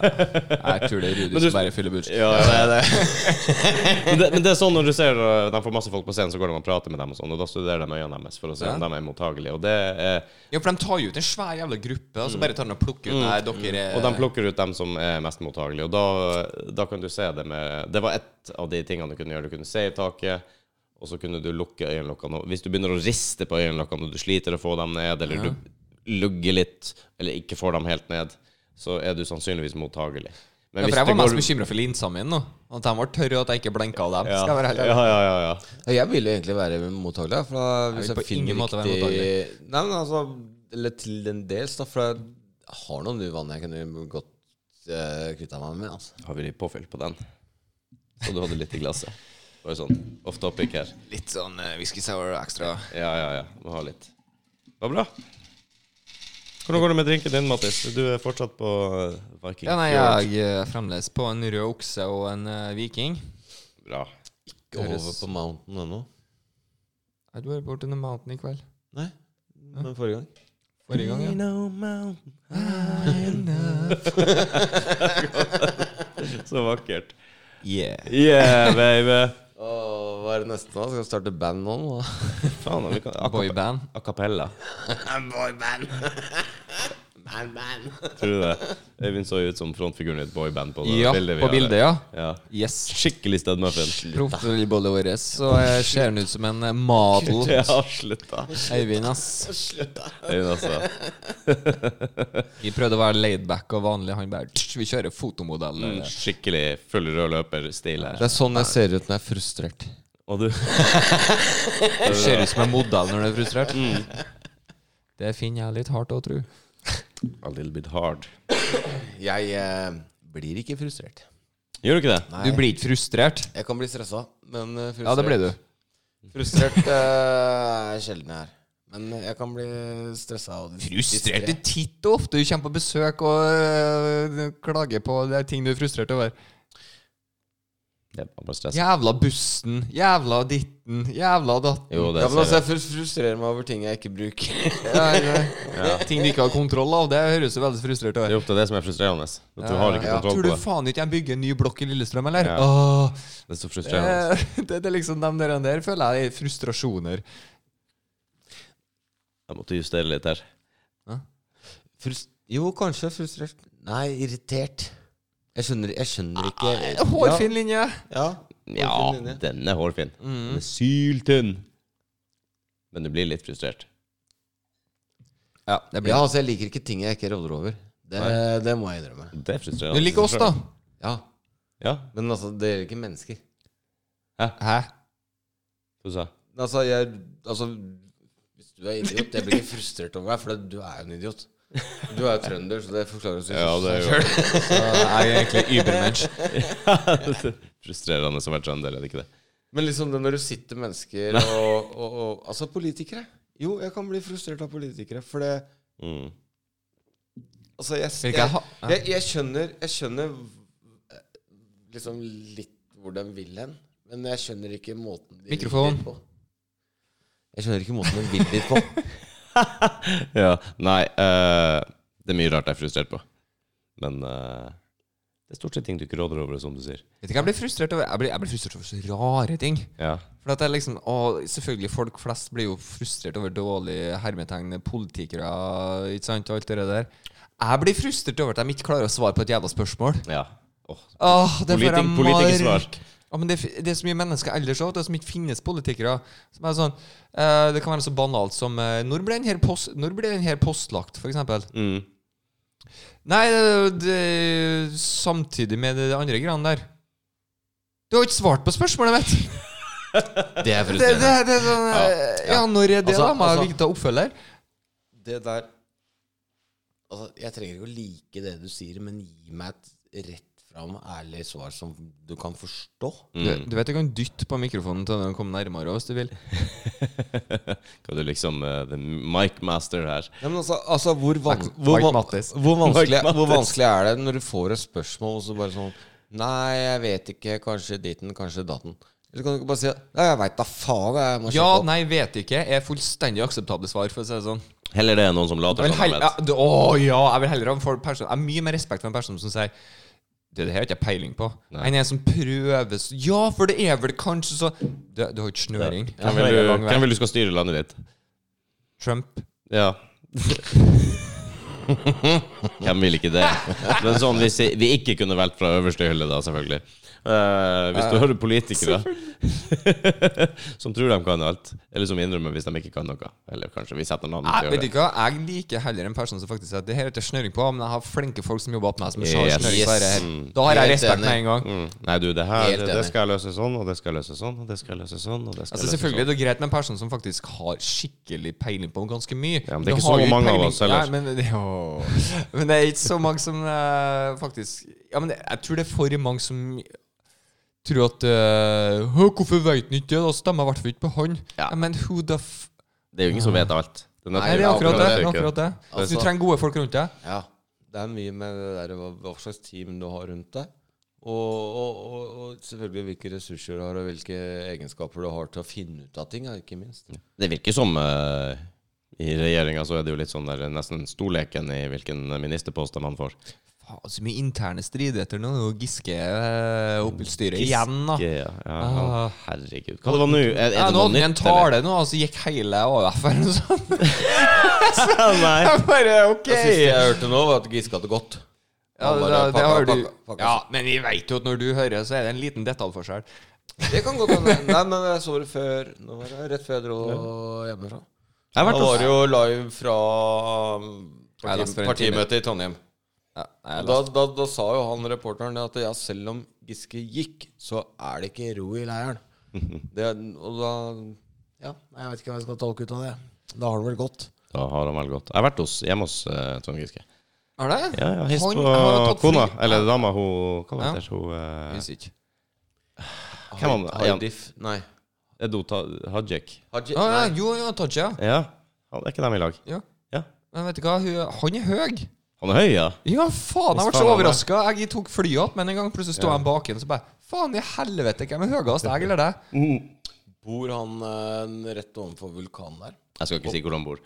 Jeg tror det er Rudi Men du- som bare fyller budsjettet. Ja, det er det. men, det, men det er sånn når du ser uh, de får masse folk på scenen, så går de og prater med dem, og sånn, og da studerer de øynene deres for å se om Ja. de er mottagelige. Og, det er, Ja, for de tar jo ut en svær jævla gruppe, og så bare tar de og plukker ut Nei, dere er Mm. og de plukker ut dem som er mest mottagelige. Og da, da kan du se det med Det var ett av de tingene du kunne gjøre. Du kunne se i taket, og så kunne du lukke øyenlokkene. Og Hvis du begynner å riste på øyenlokkene, og du sliter å få dem ned, eller du lugger litt, eller ikke får dem helt ned, så er du sannsynligvis mottagelig. Men Ja, hvis for jeg det var mest går- bekymra for linsa mi nå. At de var tørre, og at jeg ikke blinka av dem. ja. Skal jeg være helt ærlig. ja, ja, ja, ja. Ja, Jeg vil jo egentlig være mottagelig. For da, hvis vil jeg, på finner ingen måte være riktig mottagelig. Nei, men altså Eller til en dels, da. For jeg har noen nye vaner jeg kunne godt uh, kvitta meg med. Altså. har vi litt påfyll på den. Så du hadde litt i glasset. Bare sånn off topic her. Litt sånn eh, whisky sour ekstra. Ja, ja, ja. Må ha litt. Det var bra. Hvordan går det med drinken din, Mattis? Du er fortsatt på eh, Viking Ja, nei, Fjord. jeg er fremdeles på en rød okse og en eh, viking. Bra. Ikke over på Mountain ennå. Nei, Du var borte under Mountain i kveld. Nei, men forrige gang. Forrige gang, ja. Så vakkert. Yeah. Yeah, baby. Åh, hva er det neste nå? Skal vi starte band nå? nå? Faen, vi kan Aca- Boyband. Acapella. Boyband. band, band. Tror du det? Øyvind så ut som frontfiguren i et boyband på det Ja, bildet vi på har. bildet, ja. Ja. Yes. Skikkelig Stud Muffin. Proffbollet vårt. Så eh, ser han ut som en eh, model. Ja, slutt, da. Øyvind, ass. Øyvind, altså. Vi prøvde å være laidback og vanlig. Han bare «Tsk, Vi kjører fotomodell. Mm, Skikkelig full rød løper-stil her. Det er sånn jeg ser ut når jeg er frustrert. Og du Du ser ut som en modell når du er frustrert. Mm. Det finner jeg litt hardt å tro. A little bit hard. Jeg eh, blir ikke frustrert. Gjør du ikke det? Du blir ikke frustrert. Jeg kan bli stressa, men eh, frustrert Ja, det blir du. Frustrert eh, er sjelden jeg er. Men eh, jeg kan bli stressa. og dis- Frustrert er distré. titt og ofte. Du kommer på besøk og øh, klager på det er ting du er frustrert over. Det var bare stress. Jævla bussen. Jævla ditten. Jævla datten. Jo, det Ja, men altså, ser jeg. jeg frus- frustrerer meg over ting jeg ikke bruker. Ja, ja. øh, Ting du ikke har kontroll av. Det høres jo veldig frustrert Det ut. er jo ofte det som er frustrerende. At du har ikke Ja. kontroll Tror du på det. faen ikke jeg bygger en ny blokk i Lillestrøm, eller? Ja. Åh, Det er så det, frustrerende. det, det er liksom dem der, der føler jeg er frustrasjoner. Jeg måtte justere litt her. Frus- jo, kanskje frustrert. Nei, irritert. Jeg skjønner, jeg skjønner ikke Ah, Hårfin linje! Ja, ja. Ja, den er hårfin. Mm. Den er syltynn. Men du blir litt frustrert. Ja, det ja, altså, jeg liker ikke ting jeg ikke råder over. Det, det må jeg innrømme. Det er frustrerende. Du liker oss, da. Ja, Ja. Men altså, det gjelder ikke mennesker. Hæ? Hva sa jeg? Altså, jeg Altså, hvis du er idiot Jeg blir ikke frustrert over deg, for du er jo en idiot. Du er jo trønder, så det forklarer seg Ja, det er jo Så jeg er egentlig übermensch. frustrerende å være trønder, er det ikke det? Men liksom det når du sitter mennesker og, og, og Altså, politikere. Jo, jeg kan bli frustrert av politikere, for det Mm. Altså, jeg, Vil ikke jeg, jeg ha- jeg, jeg skjønner Jeg skjønner eh, liksom litt hvor de vil hen, men jeg skjønner ikke måten de Mikrofon. vil dit på. Jeg skjønner ikke måten de vil dit på. Ja. Nei, eh, det er mye rart jeg er frustrert på. Men eh, det er stort sett ting du ikke råder over, som du sier. Vet ikke, jeg blir frustrert over Jeg blir, jeg blir frustrert over så rare ting. Ja. For at jeg liksom å, Selvfølgelig, folk flest blir jo frustrert over dårlige hermetegn, politikere ikke sant, og alt det der. Jeg blir frustrert over at de ikke klarer å svare på et jævla spørsmål. ja. Åh, Åh, det får jeg Politik- politikersvar. mark. Ja, men det, er f- det er så mye mennesker ellers òg, som ikke finnes politikere. Som er sånn, eh, det kan være så banalt som eh, Når ble den her, post, når ble den her postlagt, for eksempel? Mm. Nei, det, det, samtidig med det andre greiene der. Du har ikke svart på spørsmålet mitt! Det er Det, det, det er sånn Ja, ja når er det, Altså, da? Må jeg altså- vite oppfølger? det der Altså, jeg trenger ikke å like det du sier, men gi meg et rett fram ærlig svar som du kan forstå. Mm. Du, du vet du kan dytte på mikrofonen til den kommer nærmere oss, du vil. Kan du liksom eh, The mic master her. Ja, men altså, altså hvor, van Mike- hvor, Mike van Mattis. hvor, vanskelig, Mike hvor Mattis. vanskelig er det når du får et spørsmål, og så bare sånn Nei, jeg vet ikke. Kanskje ditten, kanskje datten. Eller kan du ikke bare si Nei, jeg veit da faen. Jeg må Ja, sjekke opp. nei, vet ikke. Er fullstendig akseptable svar, for å si det sånn. Heller det enn noen som later Jeg som vil de heller, ja, vet. det, å ja, jeg vil heller ha en for- person Jeg har mye mer respekt for en person som sier Det, det her har ikke jeg peiling på, Nei. enn en som prøver s- Ja, for det er vel kanskje så Du, du har ikke snøring. Hvem vil, du, hvem vil du skal styre landet ditt? Trump. Ja. Hvem vil ikke det? Men sånn hvis vi ikke kunne valgt fra øverste hylle, da, selvfølgelig. Eh, hvis du hører politikere som tror de kan alt, eller som innrømmer hvis de ikke kan noe. Eller kanskje vi setter navnet Jeg til å vet gjøre det. ikke hva, jeg liker heller en person som faktisk sier at det her har jeg ikke snøring på, men jeg har flinke folk som jobber opp meg, som har Yes. snøring på Yes. det her. Da har jeg Helt respekt med enig. en gang. Altså, Mm. Nei, du, det her Helt det, enig. det skal jeg løse sånn, og det skal jeg løse sånn, og det skal jeg løse sånn. Og det skal Altså jeg løse Selvfølgelig det er greit med en person som faktisk har skikkelig peiling på ganske mye. Ja, men det er Du ikke har så jo mange av peiling- oss ellers. Nei, men, det- jo. men det er ikke så mange som eh, faktisk Ja, men det, Jeg tror det er for mange som tror at eh, «Hå, Hvorfor veit han ikke det? Da stemmer jeg i hvert fall ikke på han. Ja. Men who the f... sånn. Det er jo ingen som vet alt. er nettopp- Nei, det er akkurat det. det, er ikke- akkurat det. Altså- du trenger gode folk rundt deg. Ja. Det er mye med det der, hva, hva slags team du har rundt deg. Og, og, og, og selvfølgelig hvilke ressurser du har, og hvilke egenskaper du har til å finne ut av ting. ja, Ikke minst. Det virker som eh, i regjeringa så er det jo litt sånn der nesten storleken i hvilken ministerpost man får. Faen, så mye interne stridigheter nå. og Giske eh, opp i styret Giske, igjen, da. Ja, ja, Ah. Herregud. Hva det var nå? Er, er Ja, det noe nå hadde vi en nytt? tale nå, og så gikk hele AUF eller noe sånt. eller? Nei. Jeg bare, ok Det siste jeg hørte nå, var at Giske hadde gått. Ja, Han det, bare, det, «Pakka, har du pakka, pakka». Ja, men vi veit jo at når du hører, så er det en liten detaljforskjell. Det kan godt hende. Nei, men jeg så det før. Nå var det rett før jeg dro hjemmefra. Jeg har Da vært var det og- jo live fra um, Nei, da parti, spør jeg en time. partimøtet i Trondheim. Og Da, da, da sa jo han reporteren det at ja, selv om Giske gikk, så er det ikke ro i leiren. Det, og da Ja, jeg vet ikke hva jeg skal tolke ut av det. Da har det vel gått. Da har han vel gått. Jeg har vært hos, hjemme hos eh, Trond Giske. Har det? Ja, ja, Hils Han har på tatt fri- kona. Eller dama, hun Hva Ja. heter hun? eh, Visste ikke. Hvem var det? Ja. Hadif Nei. Edota Hajek. Haji, Ah, ja, nei. jo, jo, Taja. Ja. Han- Er ikke dem i lag? Ja. Ja. Men vet du hva, hun, han er høy. Han er høy, ja. Ja, faen, jeg Hvis ble så faen han er. overraska. Jeg tok flyet opp, men en gang plutselig sto han bak en, så bare Faen i helvete, hvem er høyest, jeg eller deg? Mm. Bor han eh, rett ovenfor vulkanen der? Jeg skal ikke si hvor han bor.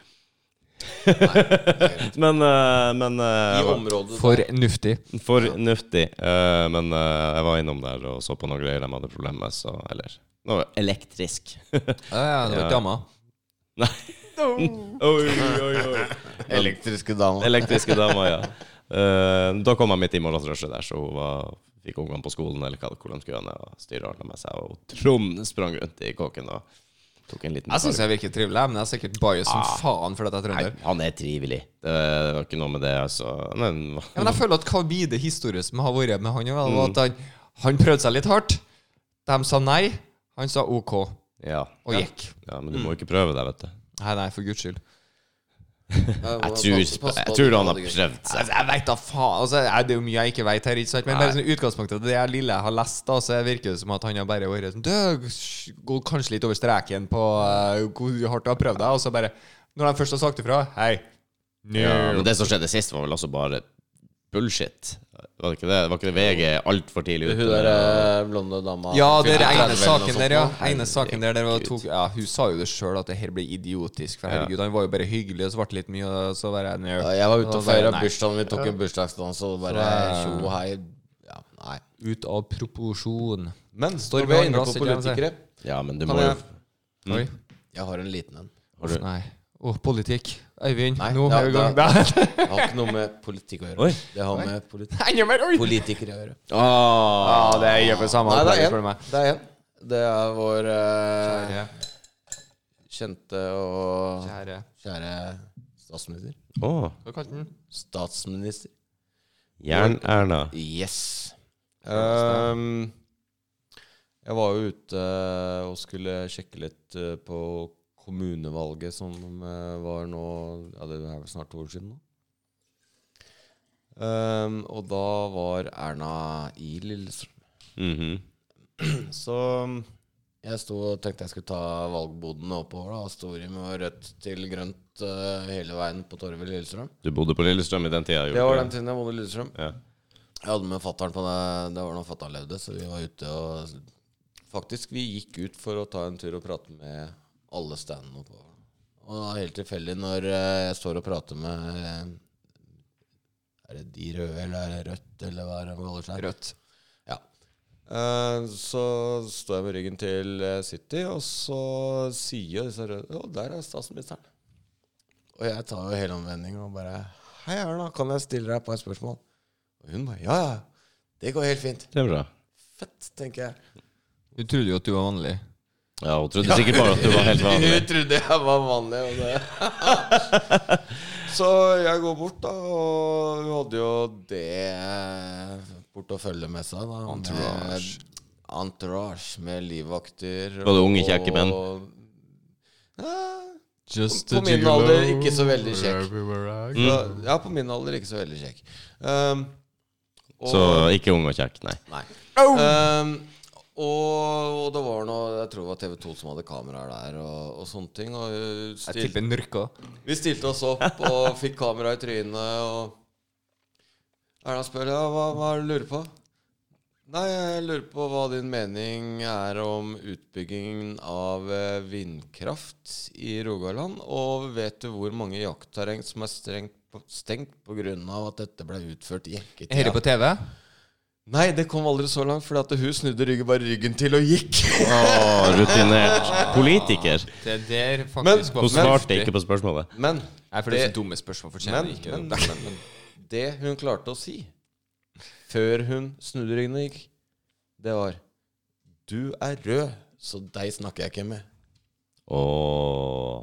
men eh, men eh, I jeg var- området Fornuftig. Fornuftig. eh, men eh, jeg var innom der og så på noen greier de hadde problemer med. Så, eller noe elektrisk. Ja, ja, det var ikke dama. Nei. Oi, oi, oi. Elektriske dama. Elektriske damer, ja. Eh, da kom jeg midt i morgensrushet der, så hun var, fikk ungene på skolen eller hva, hvor de skulle hen, og styret ordna med seg. Og Trond sprang rundt i kåken og tok en liten Jeg syns jeg virker trivelig, men jeg er sikkert bias som faen fordi jeg er Nei, trønder. han er trivelig. Det var ikke noe med det, altså. Men, Ja, men jeg føler at hva blir det historie som har vært med han? var At han, han prøvde seg litt hardt. De sa nei. Han sa OK, og ja. gikk. ja, men du må jo ikke prøve deg, vet du. Nei, nei, for guds skyld. Jeg tror, jeg tror han har prøvd seg. Altså, jeg vet da faen. Altså, jeg, det er jo mye jeg ikke vet her, ikke sant? men bare sånn i utgangspunktet det jeg lille jeg har lest, da, så virker det som at han har bare vært sånn Du sj- går kanskje litt over streken på eh, hvor hardt du har prøvd deg, og så bare Når de først har sagt ifra Hei. Ja, men det som skjedde sist, var vel også bare bullshit. Var det ikke det? Var ikke det VG altfor tidlig ute? Hun med der å- eh, blonde dama Ja, det er Fylte ene 30 eller noe saken sånt der, ja. nå. Ene saken der, der var tok, ja, Hun sa jo det sjøl, at det her ble idiotisk. For herregud, han var jo bare hyggelig, og så ble det litt mye, og så bare nei. Ja, Jeg var ute og Så bare, feira nei. bursdagen min, tok en bursdagsdans og bare tjo og hei. Ja, nei. Ut av proporsjon. Men Står står vi vi an inne glass, på ikke sant, sier? politikere Ja, men du Kan må jo jeg- Oi. Jeg har en liten en. Har du- Nei. Å, politikk. Øyvind, Nei, nå ja, er vi i gang. da- Der. Det har ikke noe med politikk å gjøre. Oi. Det har med politi Enda mer, oi! politikere å gjøre. Ah, Ja, det gjør på samme Nei, det opplegget er for en. meg. Det er, en. Det er vår eh, Kjære, kjente og kjære kjære statsminister. Å, Hva kalte den? Statsminister. Jern-Erna. Yes. Ehm, jeg var jo ute eh, og skulle sjekke litt eh, på kommunevalget som eh, var nå Ja, det er vel snart to år siden nå. Um, og da var Erna i Lillestrøm. Mhm. Så mm, jeg sto og tenkte jeg skulle ta valgboden oppover. da, og Sto i med rødt til grønt eh, hele veien på torvet i Lillestrøm. Du bodde på Lillestrøm i den tida? gjorde du Det var ikke den tiden jeg bodde i Lillestrøm. Ja. Jeg hadde med fatter'n på det. Det var når fatter'n levde, så vi var ute og Faktisk, vi gikk ut for å ta en tur og prate med alle standene oppover. Og det var helt tilfeldig når eh, jeg står og prater med eh, Er det de røde, eller er det rødt, eller hva er det man kaller seg? Rødt. Ja. Eh, så står jeg med ryggen til eh, City, og så sier jo disse røde Å, der er statsministeren. Og jeg tar jo hele omvendingen og bare Hei, Erna, kan jeg stille deg et par spørsmål? Og hun bare Ja, ja. Det går helt fint. Det er bra. Fett, tenker jeg. Du trodde jo at du var vanlig. Ja, hun trodde sikkert bare at du var helt vanlig. Hun trodde jeg var vanlig. Og det. så jeg går bort, da, og hun hadde jo det porteføljet med seg. da Entourage. Med, entourage med livvakter. Var det unge, og- kjekke menn? Ja, Just På a min gigolo alder, ikke så veldig kjekk. everywhere I go. Mm. så- ja, på min alder ikke så veldig kjekk. Um, og- Så ikke ung og kjekk, nei. Nei. Ehm, og, og det var noe Jeg tror det var TV2 som hadde kameraer der, og, og sånne ting. Og hun Jeg stilte tipper en rykka. Vi stilte oss opp og fikk kamera i trynet. Og Erna spør ja, hva, hva er det du lurer på. Nei, jeg lurer på hva din mening er om utbyggingen av eh, vindkraft i Rogaland. Og vet du hvor mange jaktterreng som er strengt på, stengt pga. at dette ble utført i Jeg hører jekketida? på TV. Nei, det kom aldri så langt, fordi at hun snudde ryggen bare ryggen til og gikk. Å, rutinert politiker. Det der Men- faktisk Hun svarte ikke på spørsmålet. Men Nei, for det er så dumme spørsmål fortjener Men, ikke men, det. men, men det hun klarte å si før hun snudde ryggen og gikk, det var Du er rød, så deg snakker jeg ikke med. Åh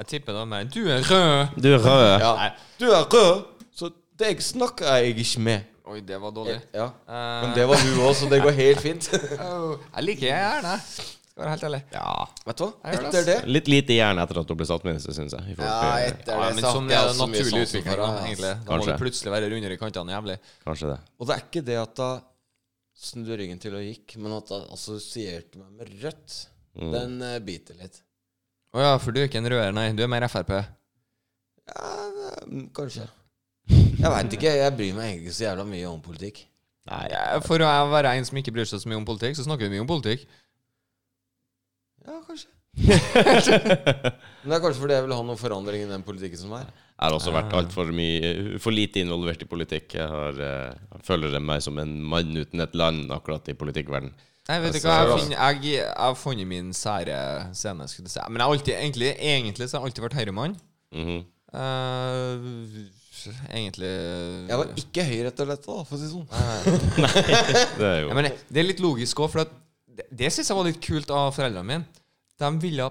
Jeg tipper det var meg. Du er rød! Du er rød. Ja, du er rød, så deg snakker jeg ikke med. Oi, det var dårlig. Ja. Eh, Men det var hun òg, så det går helt fint. Vet au. jeg liker jeg gjerne. Skal være helt ærlig. Ja. du hva? Jeg gjør det, Etter det Litt lite jern etter at hun ble statsminister, syns jeg. i forhold til- etter men sånn er det naturlig utvikling, da, egentlig. Da må Kanskje. du plutselig være rundere i kantene jævlig. Kanskje det. Og det er ikke det at da snudde ryggen til og gikk, men at da altså, assosierte meg med rødt. Mm. Den eh, biter litt. Å ja, for du er ikke en røder, nei. Du er mer Frp. Ja, mm, det- kanskje. Jeg veit ikke. Jeg bryr meg egentlig ikke så jævla mye om politikk. Nei, Eh, For å være en som ikke bryr seg så mye om politikk, så snakker vi mye om politikk. Ja, kanskje. Men det er kanskje fordi jeg vil ha noen forandring i den politikken som er. Jeg har også vært altfor mye For lite involvert i politikk. Jeg har, eh, jeg føler meg som en mann uten et land akkurat i politikkverdenen. Nei, vet du Altså, hva, jeg, finner, jeg, jeg har funnet min sære scene, skulle du si. Men jeg har alltid, egentlig, egentlig så har jeg alltid vært høyremann. Mhm. Eh, egentlig Jeg var ikke høyre etter dette, da, for å si det sånn. Det er jo Ja, men det er litt logisk òg, for at det, det syns jeg var litt kult av foreldrene mine. De ville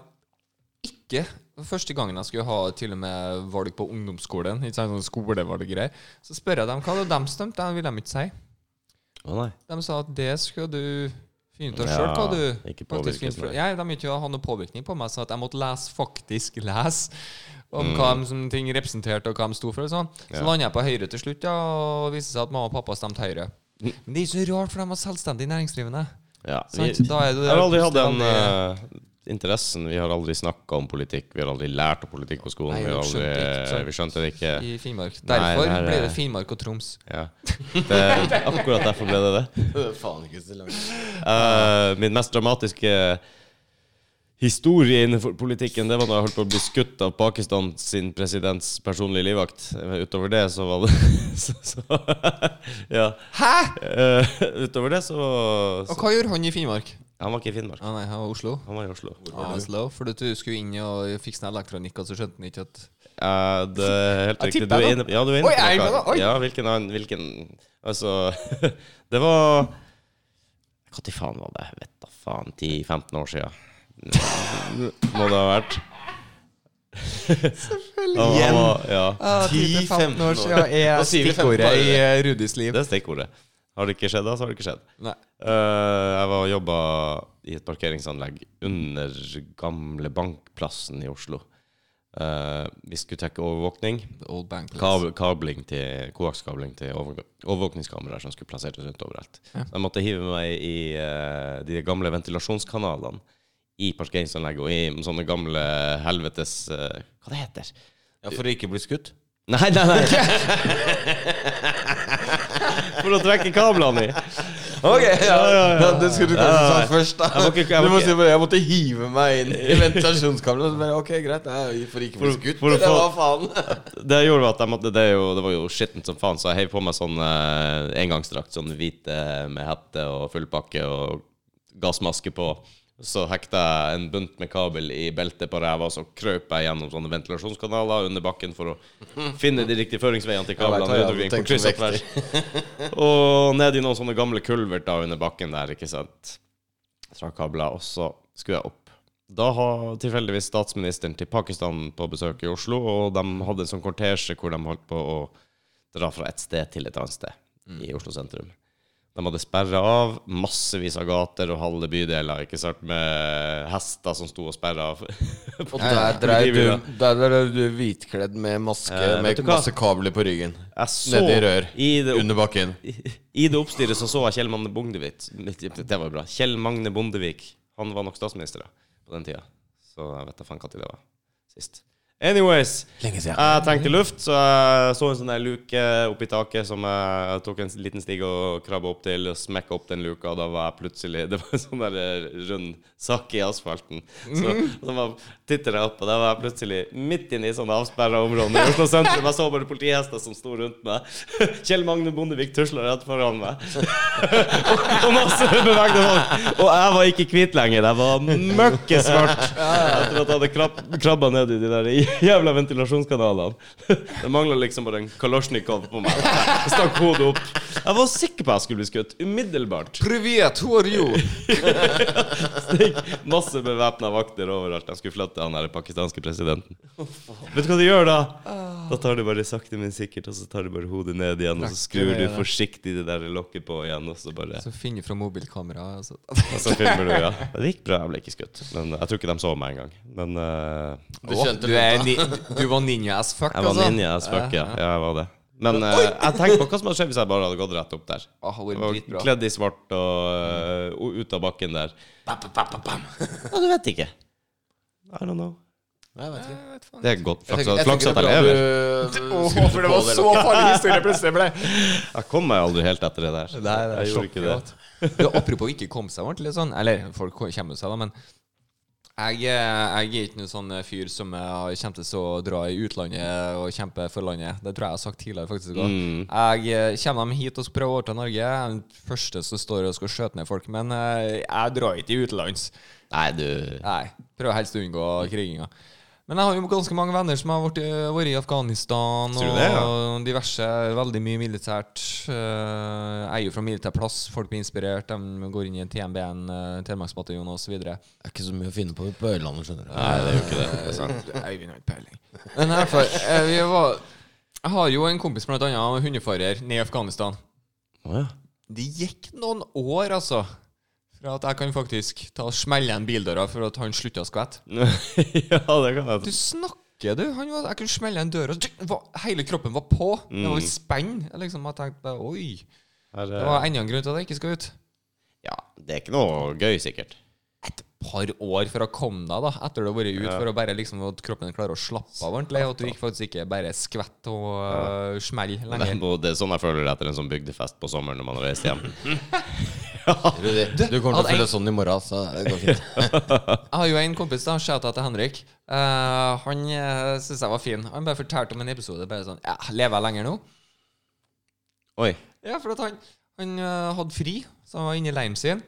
ikke Første gangen jeg skulle ha til og med valg på ungdomsskolen, ikke sant, sånn skolevalg og greier, så spør jeg dem hva hadde de stemt. Det ville de ikke si. Å nei. De sa at det skal du finne ut av sjøl, Ja, hva du ikke faktisk påvirkes, innflyter- nei. Ja, De ville ikke ha noen påvirkning på meg, så at jeg måtte lese, faktisk lese, om hva de, som ting representerte, og hva de sto for. og sånn. Mm. Så Ja. landa jeg på Høyre til slutt, ja, og det viste seg at mamma og pappa stemte Høyre. Men det er ikke så rart, for de var selvstendig næringsdrivende. Ja, vi, Sant? Da er det jeg har aldri hatt den plutselig veldig- eh, interessen. Vi har aldri snakka om politikk. Vi har aldri lært om politikk på skolen. Nei, vi, har vi skjønte ikke, aldri, sant? vi skjønte det ikke. i Finnmark. eh, Nei, Derfor det her er- blir det Finnmark og Troms. Ja. Det, akkurat derfor ble det det. Faen ikke så langt. Eh, min mest dramatiske historie innenfor politikken, det var da jeg holdt på å bli skutt av Pakistan sin presidents personlige livvakt. Utover det så var det så, så, Ja. Hæ?! Eh, utover det så, Og så hva gjorde han i Finnmark? Han var ikke i Finnmark, Ah, nei, han var i Oslo. han var i Oslo. Ah, Oslo. For du skulle inn og fikse noe elektronikk, og så skjønte han ikke at Eh, det er helt Jeg riktig. tipper Du er jeg inne, ja, du er inne Oi, jeg på er inne noe. på det. Oi. Ja, hvilken annen Hvilken Altså Det var Når faen var det? Jeg vet da faen. 10-15 år siden. Må det ha vært. Selvfølgelig. Han var, ja. Ah, 10-15 år siden er Da sier vi 15 år. stikkordet i eh, Rudis liv. Det er stikkordet. Har det ikke skjedd, da, så har det ikke skjedd. Nei. Eh, jeg var og jobba i et parkeringsanlegg under gamle Bankplassen i Oslo. Eh, vi skulle trekke overvåkning. The old bank place. Kabel, kabling til, koakskabling til overvå- overvåkningskameraer som skulle plasseres rundt overalt. Ja. Så jeg måtte hive meg i eh, de gamle ventilasjonskanalene i parkeringsanlegget og i sånne gamle helvetes eh, Hva det heter Ja, For å ikke bli skutt? Nei, nei, nei. For å trekke kablene i. Ok, ja, Ja, ja, ja. det skulle du Ja, kanskje ja, ja. sagt først. da Jeg må ikke- jeg må Du må ikke- si bare 'jeg måtte hive meg inn i ventilasjonskammeret'. Så bare, ok, greit, nei, for ikke å bli For- skutt. for å det få- var faen. Det gjorde at jeg måtte, det, er jo, det var jo skittent som faen, så jeg heiv på meg sånn eh, engangsdrakt. Sånn hvite med hette og fullpakke og gassmaske på. Så hekta jeg en bunt med kabel i beltet på ræva, så krøp jeg gjennom sånne ventilasjonskanaler under bakken for å finne de riktige føringsveiene til Jeg vet kablene. det, jeg rundt omkring, hadde på kryss tenkt og tvers. Og ned i noen sånne gamle kulverter under bakken der, ikke sant. Trakk kabler, og så skulle jeg opp. Da har tilfeldigvis statsministeren til Pakistan på besøk i Oslo, og de hadde en sånn kortesje hvor de holdt på å dra fra et sted til et annet sted Mm. i Oslo sentrum. De hadde sperra av massevis av gater og halve bydeler, ikke sant, med hester som sto og sperra av. Og jeg der dreiv du, Politibiler. der dreiv du hvitkledd med maske Eh, med vet du hva? masse kabler på ryggen. så Nedi rør. i det opp- Under bakken. I det oppstyret så så jeg Kjell Magne Bondevik. Det var bra. Kjell Magne Bondevik. Han var nok statsminister da, på den tida. Så jeg vet da faen når det var sist. Anyways, Lenge siden. jeg trengte luft, så jeg så en sånn der luke oppi taket som jeg tok en liten stig og krabba opp til, og smekka opp den luka, og da var jeg plutselig Det var en sånn der rund sak i asfalten. Så, så titter jeg opp, og da var jeg plutselig midt inne i sånne avsperra områder i Oslo sentrum. Jeg så bare politihester som sto rundt meg. Kjell Magne Bondevik tusla rett foran meg. Og masse bevegde folk. Og jeg var ikke hvit lenger. Jeg var møkkesvart etter at jeg hadde krab krabba ned i de der jævla ventilasjonskanalene. Det mangla liksom bare en kalosjnikov på meg. Jeg stakk hodet opp. Jeg var sikker på at jeg skulle bli skutt. Umiddelbart. Privet, who are you? Stikk. Masse bevæpna vakter overalt. Jeg skulle flytte han der pakistanske presidenten. Vet du hva de gjør da? Da tar de bare sakte, men sikkert, og så tar de bare hodet ned igjen, og så skrur du forsiktig det der lokket på igjen, og så bare Så finner fra mobilkameraet altså. Og så filmer du, ja. Det gikk bra, jeg ble ikke skutt. Men jeg tror ikke de så meg engang. Men eh, Du Åh, skjønte du, det. er ni, du var ninja as fuck, jeg var altså. ninja as fuck, ja. ja. Jeg var det. Men eh, jeg tenker på hva som hadde skjedd hvis jeg bare hadde gått rett opp der. Åh, det Jeg var var Ah, dritbra. kledd i svart og, eh, og ut av bakken der. Bam, bam, bam, bam, bam. Ja, du vet ikke. I don't know. Nei, jeg vet ikke. Det er godt. Jeg Flaks tenker- at- Flaks jeg at jeg tenker lever. det er bra du- Åh, for det var så farlig historie plutselig ble. Jeg kom meg aldri helt etter det der. Nei, jeg gjorde ikke det. Du, apropos ikke komme seg ordentlig sånn, eller folk ko- kommer seg da, men jeg, eh, jeg er ikke noen sånn fyr som eh, har- kommer til å dra i utlandet og kjempe for landet. Det tror jeg jeg har sagt tidligere, faktisk. også. Mm. Jeg eh, kommer dem hit og skal prøve å overta Norge. Jeg er den første som står og skal skjøte ned folk, men eh, jeg drar ikke i utenlands. Nei, du Nei, prøver helst å unngå kriginga. Men jeg har jo ganske mange venner som har vært, eh, vært i Afghanistan Tror du og det, ja? diverse. Veldig mye militært. Eh, Jeg er jo fra militær plass, folk blir inspirert. De går inn i en TMB-en, eh, Telemarksbataljonen osv. Det er ikke så mye å finne på på Øylandet, skjønner du. Nei, det er jo ikke det. det er sant. Øyvind har ikke peiling. Men i hvert fall, eh, vi var, jeg har jo en kompis blant annet, hundefører, ned i Afghanistan. Å, ja. Det gikk noen år, altså, fra at jeg kan faktisk ta og smelle en bildøra for at han slutta å skvette. ja, det kan jeg Du snakker, du. Han var, jeg kunne smelle en dør, og tsk, var, hele kroppen var på. Det var i spenn. Jeg liksom har tenkt bare, oi. Her, Det eh, var enda en grunn til at jeg ikke skal ut. Ja, det er ikke noe gøy, sikkert. Et par år for å komme deg, da, etter du har vært ut, Ja. for å bare liksom at kroppen klarer å slappe av ordentlig, og at du ikke faktisk ikke bare skvetter og øh, smeller Det er, lenger. noe- det er sånn jeg føler det etter en sånn bygdefest på sommeren når man har reist hjem. Rudi, du kommer til å hadde føle deg sånn i morgen, så det går fint. Jeg har jo en kompis, da, shout-out til Henrik. Eh, han uh, syntes jeg var fin. Han bare fortalte om en episode. Bare sånn ja, 'Lever jeg lenger nå?' Oi. Ja, for at han, han eh, hadde fri, så han var inne i leiren sin.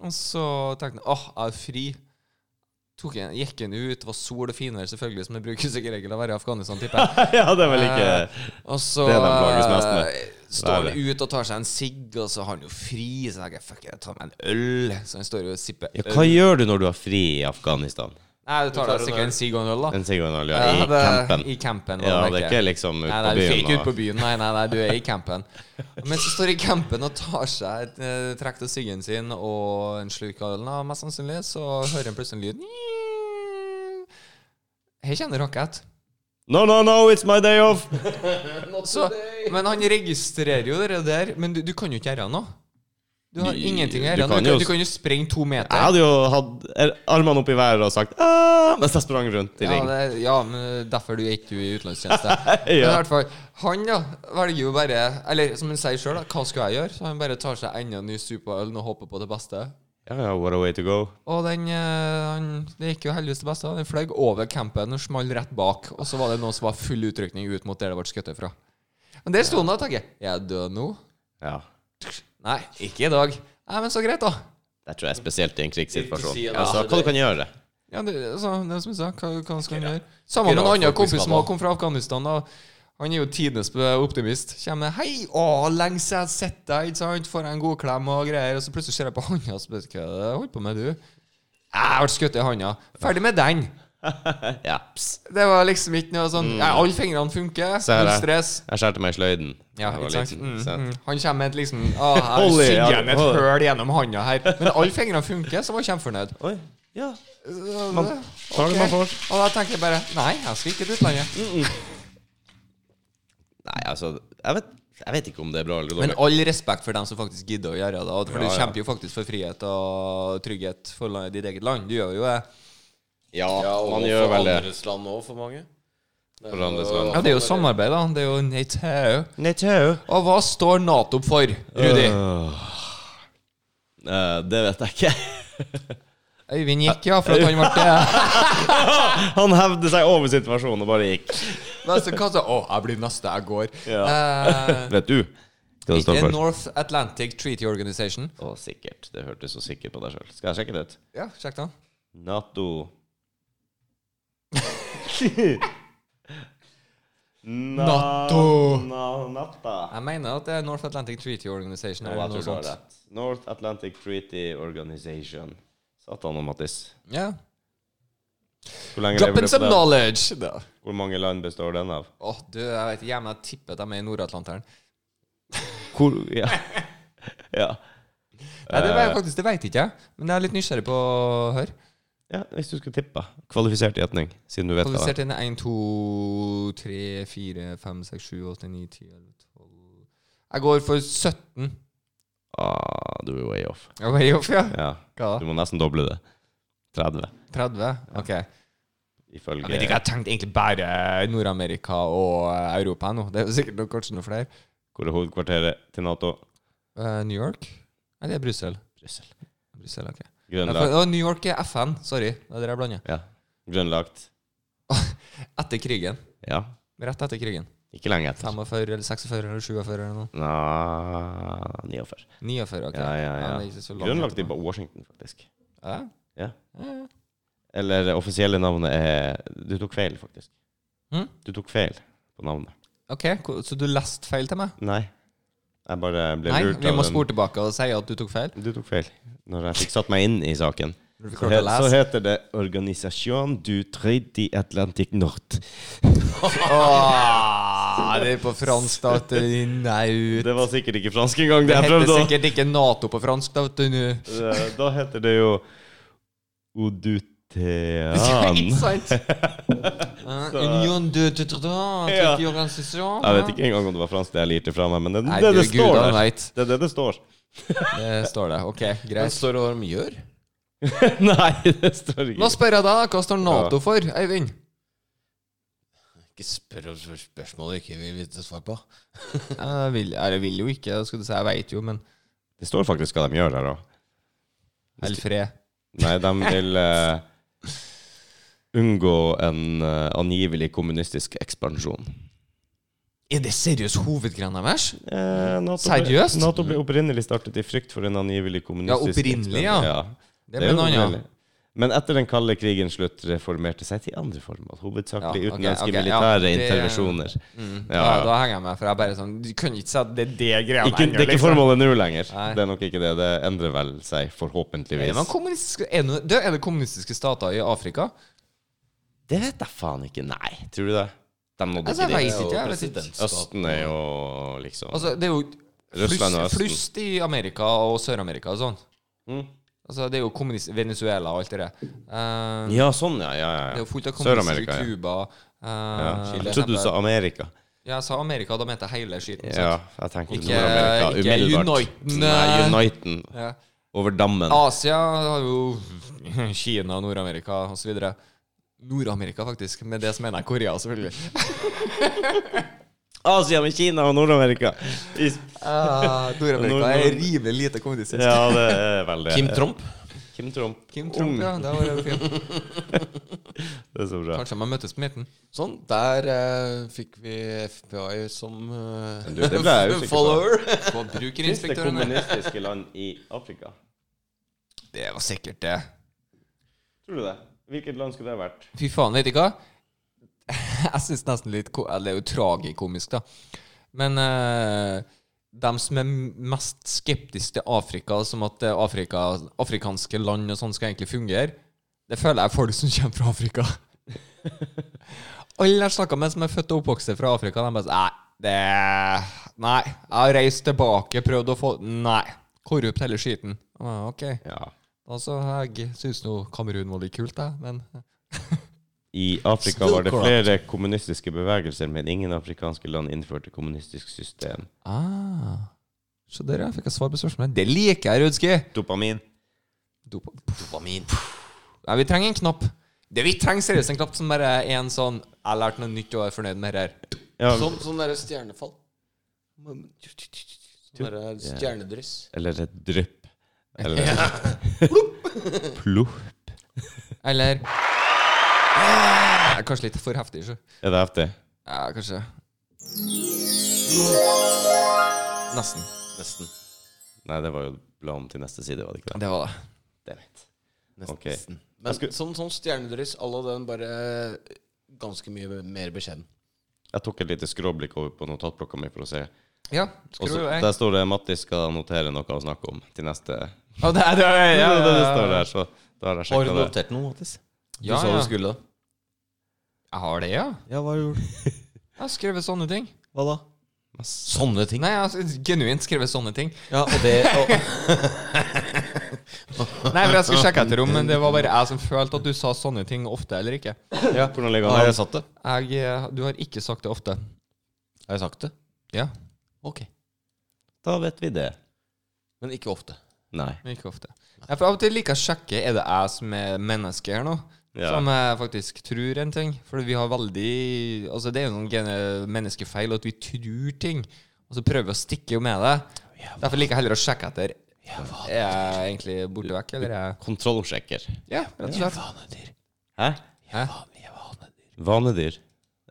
Og så tenkte han åh, jeg har fri. Tok en, gikk han ut, det var sol og finvær, selvfølgelig, som det brukes ikke regel å være i Afghanistan, tipper jeg. ja, det er vel ikke Og så Det er de plages mest med. eh, står Det han ut og tar seg en sigg, og så har han jo fri, så tenker jeg fuck, jeg tar meg en øl. Så han står jo og sipper ja, øl. Hva gjør du når du har fri i Afghanistan? Nei, du tar tar deg en sikkert en sigg og en øl, da. En signal ja, Ja, i det- campen. I campen Ja, var det er ikke- ikke liksom ute Nei, på nei, du skal ikke ut byen. på og- byen. Nei, nei, nei, du er i campen. Men så står du i campen og tar seg et eh, trekk til siggen sin og en slurk av ølen, da, mest sannsynlig, så hører han plutselig en lyd. Her kjenner rakett. No, no, no, it's my day off! Så, men han registrerer jo det der, men du, du kan jo ikke gjøre noe. Du har Du- ingenting å du gjøre. Du, kan jo s- kan- du kan jo sprenge to meter. Jeg hadde jo hatt er- armene opp i været og sagt «Ah!» mens jeg sprang rundt i Ja, ring. det, ja, men derfor du er ikke du i utenlandstjeneste. Men i Ja. hvert fall, han da velger jo bare Eller som han sier sjøl, hva skal jeg gjøre? Så han bare tar seg enda en ny superøl og håper på det beste. Ja, ja, what a way to go. Og den eh, han, Det gikk jo heldigvis det beste. Den fløy over campen og smalt rett bak. Og så var det noen som var full utrykning ut mot der det ble skutt fra. Men der sto han da og tenkte Er jeg død nå? Ja. Nei, ikke i dag. Nei, men så greit, da. Det tror jeg er spesielt i en krigssituasjon. Ikke si det, Altså, altså, hva du det- kan gjøre? Ja, det, altså, det er som jeg sa, hva, hva skal han Ikke gjøre? Sammen med Ikke rart en folk annen blir kompis som skadet. har- kom fra Afghanistan. Da. Han er jo tidenes optimist. Kommer med 'Hei, å, lenge siden jeg har sett deg', ikke sant? Får en god klem og greier. Og så plutselig ser jeg på handa og spør hva er det du holder på med, du. Jeg ble skutt i handa. Ferdig med den. Ja, pss. Det var liksom ikke noe sånn ja, Alle fingrene funker. Mm. Se her, Null jeg. stress. Jeg skjærte meg i sløyden. Ja, Jeg var ikke sant? liten, Mm, så- mm. Han kommer med et liksom Å, her Hold i, sender ja, han et hold i. høl gjennom handa her. Men alle fingrene funker, så var jeg kjempefornøyd. Oi. Ja. Så Man det- tar det man ok. får. Og da tenker jeg bare Nei, jeg skal ikke til utlandet. Nei, altså jeg vet, jeg vet ikke om det er bra eller Men dårlig. all respekt for dem som faktisk gidder å gjøre det. og For Ja, Du ja. kjemper jo faktisk for frihet og trygghet for landet- ditt eget land. Du gjør jo det. Ja, Ja, og man gjør for vel det. andres land òg, for mange. For andres land. Ja, Det er jo samarbeid, da. Det er jo NATO. Nato. Og hva står Nato opp for, Rudi? Eh, det vet jeg ikke. Øyvind gikk, ja, for at han ble Han hevde seg over situasjonen og bare gikk. Neste kasse. Å, jeg blir neste. Jeg går. Eh, Vet du hva det står The for? North Atlantic Treaty Organization. Å, sikkert. Det hørtes så sikkert på deg sjøl. Skal jeg sjekke det ut? Ja, sjekk den. Nato Na- Nato. Na- Natta. Jeg mener at det er North Atlantic Treaty Organization. Ja, Eller jeg noe tror du har sånt. rett. North Atlantic Treaty Organization. Satan og Mattis. Ja. Hvor lenge lever Dropping du på some den? knowledge! Da. Hvor mange land består den av? Åh, du, jeg vet ikke, men jeg tipper de er i Nord-Atlanteren. Hvor Ja. ja. Nei, det Eh. vet jeg faktisk, det vet ikke jeg. Men jeg er litt nysgjerrig på å høre. ja. Hvis du skulle tippe. Kvalifisert gjetning, siden du vet det. Kvalifisert inn 1, 2, 3, 4, 5, 6, 7, 8, 9, 10, 11, 12 Jeg går for 17. Ah, du er way off. Jeg var i off, ja. Ja. Hva Du da? må nesten doble det. 30, 30? Ok. ifølge Jeg vet ikke, jeg tenkte egentlig bare Nord-Amerika og eh, Europa nå. Det er jo sikkert noe, kanskje noe flere. Hvor er hovedkvarteret til Nato? Eh, New York? Eller Brussel? Brussel. Brussel, ok. Ja, for, Grønland. å, New York er FN. Sorry, det er der jeg blander. Ja. Grønlagt. Etter krigen. Ja. Rett etter krigen. Ikke lenge etter. 45 eller 46 eller 47 eller noe. Nå, 49. 49, ok. Ja, ja, ja. det er ikke så langt Grønlagt i etterpå. Washington, faktisk. Ja. Ja. ja. Eller det offisielle navnet er Du tok feil, faktisk. Mm? Du tok feil på navnet. Ok, ko- så du leste feil til meg? Nei. Jeg bare ble Nei, lurt vi av må den- spore tilbake og si at du tok feil. Du tok feil. Når jeg fikk satt meg inn i saken, Når du fikk så, klart å het, så lese. heter det Organisation du Tredje Atlantic Nord. Åh, det er på fransk, da. vet du. Nei. Det var sikkert ikke fransk engang, det sånn- Det jeg heter prøvde å sikkert ikke Nato på fransk, da. vet du, nå. Eh, Da heter det jo Ja, Odutean. ikke sant? Eh, Union de Tetradant, Ja. ikke organisasjon. Jeg vet ikke engang om det var fransk det jeg lirte fra meg, men det er Nei, det, du, det Gud, står han der. vet. Det er det det står. Det står det. Ok, Men greit. står det hva de gjør? Nei, det står Nå ikke. spør jeg deg, hva står Nato for, Eivind? Ikke spør om spørsmål du ikke vil vite svar på. Jeg vil, eller vil jo ikke, skal du si. Jeg veit jo, men Det står faktisk hva de gjør der, da. Hell fred. Nei, de vil eh, unngå en eh, angivelig kommunistisk ekspansjon. Er det seriøst hovedgreia deres? Eh, NATO Seriøst? Ble, Nato ble opprinnelig startet i frykt for en angivelig kommunistisk Ja, opprinnelig, ja. ekspansjon. Det er ble jo noe annet. opprinnelig. Men etter den kalde krigens slutt reformerte seg til andre formål, hovedsakelig Ja, ok, utenlandske ok, ja, militære det- intervensjoner. Ja. Da henger jeg med, for jeg er bare sånn Du kan ikke si at det er det greia Ikke, det er ikke formålet nå lenger. liksom- Nei. Det er nok ikke det. Det endrer vel seg, Er, man forhåpentligvis. kommunistiske- er, det, du, er det kommunistiske stater i Afrika? Det vet jeg faen ikke. Nei, tror du det? De nådde Altså, ikke jeg dit. vet ikke. Jeg vet ikke. presidentskap. Østen er jo liksom Altså, det er jo Russland og flust, Østen. flust i Amerika og Sør-Amerika og sånn. Mm. Altså, det er jo kommunist Venezuela og alt det der. Eh, Ja, sånn, ja. ja, ja. Det er jo fullt av kommunister i Sør-Amerika. Ja. Cuba. Eh, Ja. Jeg Chile. trodde du sa Amerika. Jeg sa Amerika, da mente jeg hele skiten. Ja, jeg tenker Ikke- Nord-Amerika ikke umiddelbart. Uniten, Nei, eh. Ah. Uniten. Ja. Over dammen. Asia har jo Kina, Nord-Amerika osv. Nord-Amerika, faktisk. Med det som mener jeg Korea, selvfølgelig. Asia med Kina og Nord-Amerika. I- Eh, Nord-Amerika Nord- er rimelig lite kommunistisk. Ja, det er veldig Kim Trump? Kim Trump. Mm. Kim Trump, ja. Det var jo fint. Det er så bra. Kanskje man møtes på midten. Sånn. Der eh, fikk vi FBI som eh, Du, det ble jeg usikker på. follower. På Siste brukerinspektørene. kommunistiske land i Afrika. Det var sikkert det. Tror du det? Hvilket land skulle det vært? Fy faen, vet du hva? Jeg syns nesten litt ko- eller Det er jo tragikomisk, da. Men eh, dem som er mest skeptiske til Afrika, som at eh, Afrika, afrikanske land og sånn skal egentlig fungere, det føler jeg er folk som kommer fra Afrika. Alle jeg snakker med som er født og oppvokst fra Afrika, de bare sånn, Nei, det Nei. Jeg har reist tilbake, prøvd å få Nei. Korrupt hele skiten. Ah, ok. Ja. Altså, jeg syns nå Kamerun var litt kult, jeg, men eh." I Afrika Still var det corrupt. flere kommunistiske bevegelser, men ingen afrikanske land innførte kommunistisk system. Ah. Så der ja, fikk jeg svar på spørsmålet. Det liker jeg, Rødski! Dopamin. Dopa- Dopamin. Nei, vi trenger en knapp. Det Vi trenger seriøst en knapp som bare er en sånn 'Jeg har lært noe nytt og er fornøyd med det her'. Ja, Sånn, sånn derre stjernefall. Sånn derre stjernedryss. eller et drypp. Eller Plopp. Eller Ah, jeg er Kanskje litt for heftig, sjø. Er det heftig? Ja, kanskje. Nesten. Nesten. Nei, det var jo bla om til neste side, var det ikke det? Det var det. Damn it. Nesten. Ok. nesten. Men Jeg skulle- sånn, sånn stjernedryss à la den bare ganske mye mer beskjeden. Jeg tok et lite skråblikk over på notatblokka mi for å se. Ja. Og Skru så- jeg. der står det Matti skal notere noe å snakke om til neste Å, det, er- det, er- Ja, ja, det, det står ja, der, så da har jeg sjekka det. notert noe, Mattis? Du Ja, sa ja. du skulle det. Jeg har det, ja. Ja, hva har du gjort? Jeg har skrevet sånne ting. Hva da? Sånne ting. Nei, jeg har genuint skrevet sånne ting. Ja, og det og, Nei, for jeg skal sjekke etter om Men det var bare jeg som følte at du sa sånne ting ofte eller ikke. Ja, hvordan ligger Har han jeg sagt det? Jeg, eh, du har ikke sagt det ofte. Har jeg sagt det? Ja, Ok. Da vet vi det. Men ikke ofte. Nei. men ikke ofte. Ja, for Av og til liker jeg å sjekke er det jeg som er menneske her nå, Ja. som jeg faktisk tror en ting. For vi har veldig Altså, det er jo noen gene- menneskefeil at vi tror ting, og så prøver vi å stikke med det. Derfor liker jeg heller å sjekke etter. Er jeg egentlig borte vekk, eller er jeg Kontrollsjekker. Ja, rett og slett. Vanedyr. Hæ? Hæ? Vi er vanedyr. Vanedyr.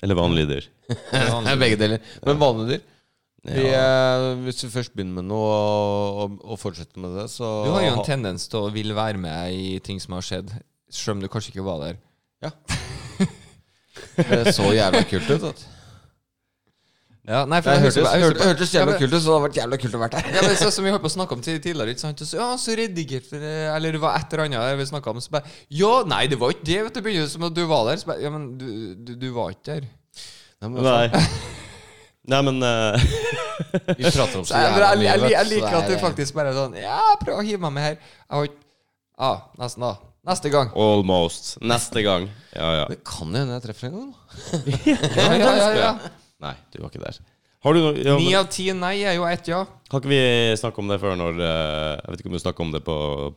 Eller vanlige dyr. Det er begge deler. Men vanedyr vi, Ja. eh, Hvis du først begynner med noe og, og, og fortsetter med det, så Du har jo en tendens til å ville være med i ting som har skjedd, selv om du kanskje ikke var der. Det så jævla kult ut. Vet. du. Ja, nei, for Det jeg hørtes, husker bare- jeg husker hørtes, bare- hørtes jævla Ja, men- kult ut, så det hadde vært jævla kult å være der. Ja, men så, som vi holdt på å snakke om tid- tidligere, ikke sant? Og Så, ja, så redigerte det Eller det var et eller annet vi snakket om, så bare Ja, nei, det var ikke det, vet du. Det begynte som at du var der. Så bare, ja, men du, du, du var ikke der. altså, Nei. Nei, men eh, Vi prater om Så så jeg, jævla jeg, mye. jeg, vet jeg, jeg så det liker at du er- faktisk bare er sånn Ja, prøv å hive meg med her. Jeg har ikke Ja, nesten, da. Neste gang. almost. Neste gang. Ja, ja. Det kan jo hende jeg treffer en gang. da. Ja, ja, ja, ja. Nei, du var ikke der. Har du noe ja, Ni men, av ti nei er jo ett ja. Kan ikke vi snakke om det før når eh, Jeg vet ikke om du snakker om det på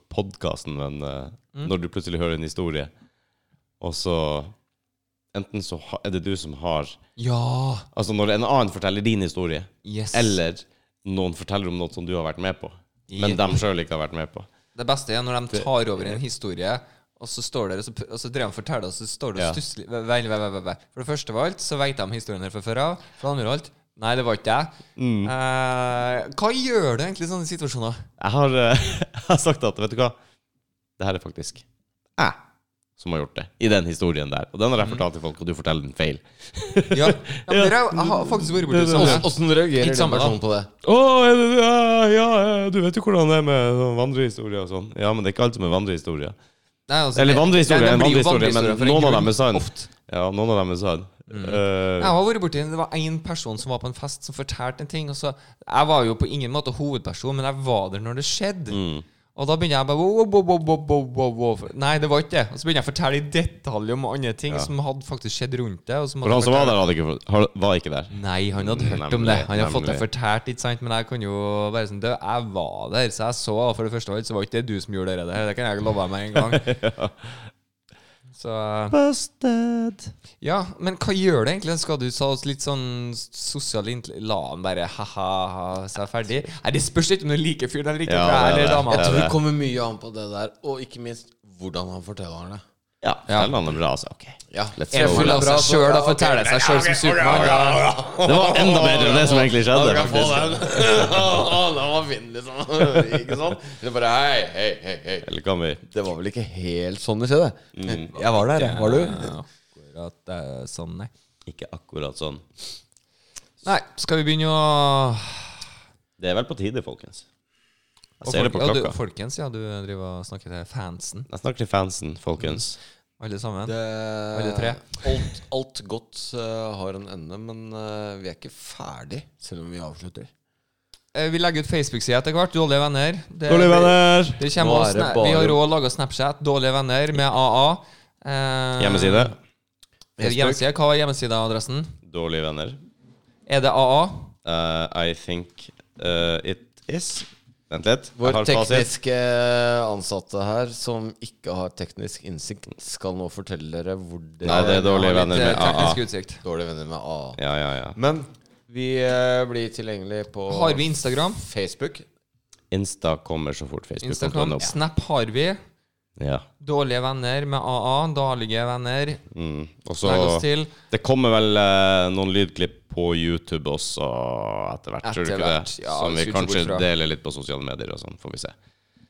podkasten, men eh, Mm. når du plutselig hører en historie, og så Enten så ha, er det du som har Ja. Altså når en annen forteller din historie, Yes. eller noen forteller om noe som du har vært med på, men Yep. dem sjøl ikke har vært med på. Det beste er når de tar over en historie, og så står der, og så, pr- og så driver de og forteller, og så står det og Ja. stusslig Vent, vent, vent, vent, vent. For det første av alt, så vet de historien her fra før av. For det andre av alt, nei, det var ikke jeg. Mm. Eh, hva gjør du egentlig i sånne situasjoner? Jeg har, eh, jeg har sagt at, vet du hva Det her er faktisk jeg som har gjort det, i den historien der. Og den har jeg Mm. fortalt til folk, og du forteller den feil. Ja, ja, men dere, jeg har faktisk vært borti Det- sånn, det- sånne. Åssen- Åssen reagerer den Litt samme, da. personen på det? Å, er det, ja, ja, ja, du vet jo hvordan det er med sånn vandrehistorier og sånn. Ja, men det er ikke alt som er vandrehistorier. Nei, altså, Eller det- vandrehistorier nei, er en det blir jo vandrehistorie, men vandrehistorie, for noen en av dem grunn, Mm. er sann. ofte. Ja, noen av dem er sann. Eh, Jeg har vært borti en- Det var en person som var på en fest, Mm. som fortalte en ting. Og så, jeg var jo på ingen måte hovedperson, men jeg var der når det skjedde. Og da begynner jeg bare wow, wow, wow, wow, wow, wow, wow, wow. Nei, det var ikke det. Og så begynner jeg å fortelle i detalj om andre ting Ja. som hadde faktisk skjedd rundt det. Og som For hadde han som var fortalt- der, hadde ikke, fått- har- var ikke der. Nei, han hadde hørt om Nemlig, det. Han hadde fått det nemlig. fortalt, ikke sant? Men jeg kan jo være sånn «Du, Jeg var der, så jeg så For det første av alt, så var ikke det du som gjorde det der. Det kan jeg love deg med en gang. Så eh, Busted! Ja, men hva gjør det egentlig? Skal du ta oss litt sånn sosial intel- La han bare ha-ha, så er jeg ferdig? Nei, det spørs litt om du liker fyren eller ikke. Ja, det Ja, er eller det. dama. Ja, Jeg tror det. det kommer mye an på det der, og ikke minst hvordan han forteller det. Ja. Fortell han det bra, altså. Ok. Ja, Let's Er go. full av seg sjøl og forteller seg sjøl som Supermann. ja. Det var enda bedre enn det som egentlig skjedde. Ja, faktisk. den. den var fin, liksom. Ikke sant? Det er bare hei, hei, hei, hei. Eller kan vi Det var vel ikke helt sånn det skjedde? Jeg var der, jeg. Var du? Ja, akkurat eh, sånn, nei. Ikke akkurat sånn. Nei, skal vi begynne å Det er vel på tide, folkens. Jeg Og ser det på folk- ja, klokka. Du, folkens, ja, du driver og snakker til fansen, Jeg snakker til fansen, folkens. alle sammen. Det, Eller tre. Alt, alt godt eh, har en ende, men eh, vi er ikke ferdig, selv om vi avslutter. Eh, Vi legger ut Facebook-sida etter hvert. Dårlige venner. Det, venner! Det kommer Nå også er det sna- bare- Vi har òg laga Snapchat. Dårlige venner med AA. Eh, Hjemmeside. eh, Hjemmeside. Hva er hjemmesideadressen? Dårlige venner. Er det AA? Eh, I think eh, it is Vent litt. Jeg Vår har fasit. tekniske eh, ansatte her, som ikke har teknisk innsikt, skal nå fortelle dere hvor dere Nei, det er dårlige har litt, venner Det med er teknisk AA. utsikt. dårlige venner med A. Ja, ja, ja. Men vi eh, blir tilgjengelig på Har vi Instagram? Facebook. Insta kommer så fort Facebook Instagram. kommer opp. Snap har vi. Ja. Dårlige venner med AA. Dårlige venner. Mm. Og så Legg oss til. Det kommer vel eh, noen lydklipp på YouTube også etter hvert, tror du Etter ikke det? hvert, ja, Som vi skulle ikke kanskje bort fra. deler litt på sosiale medier og sånn, får vi se.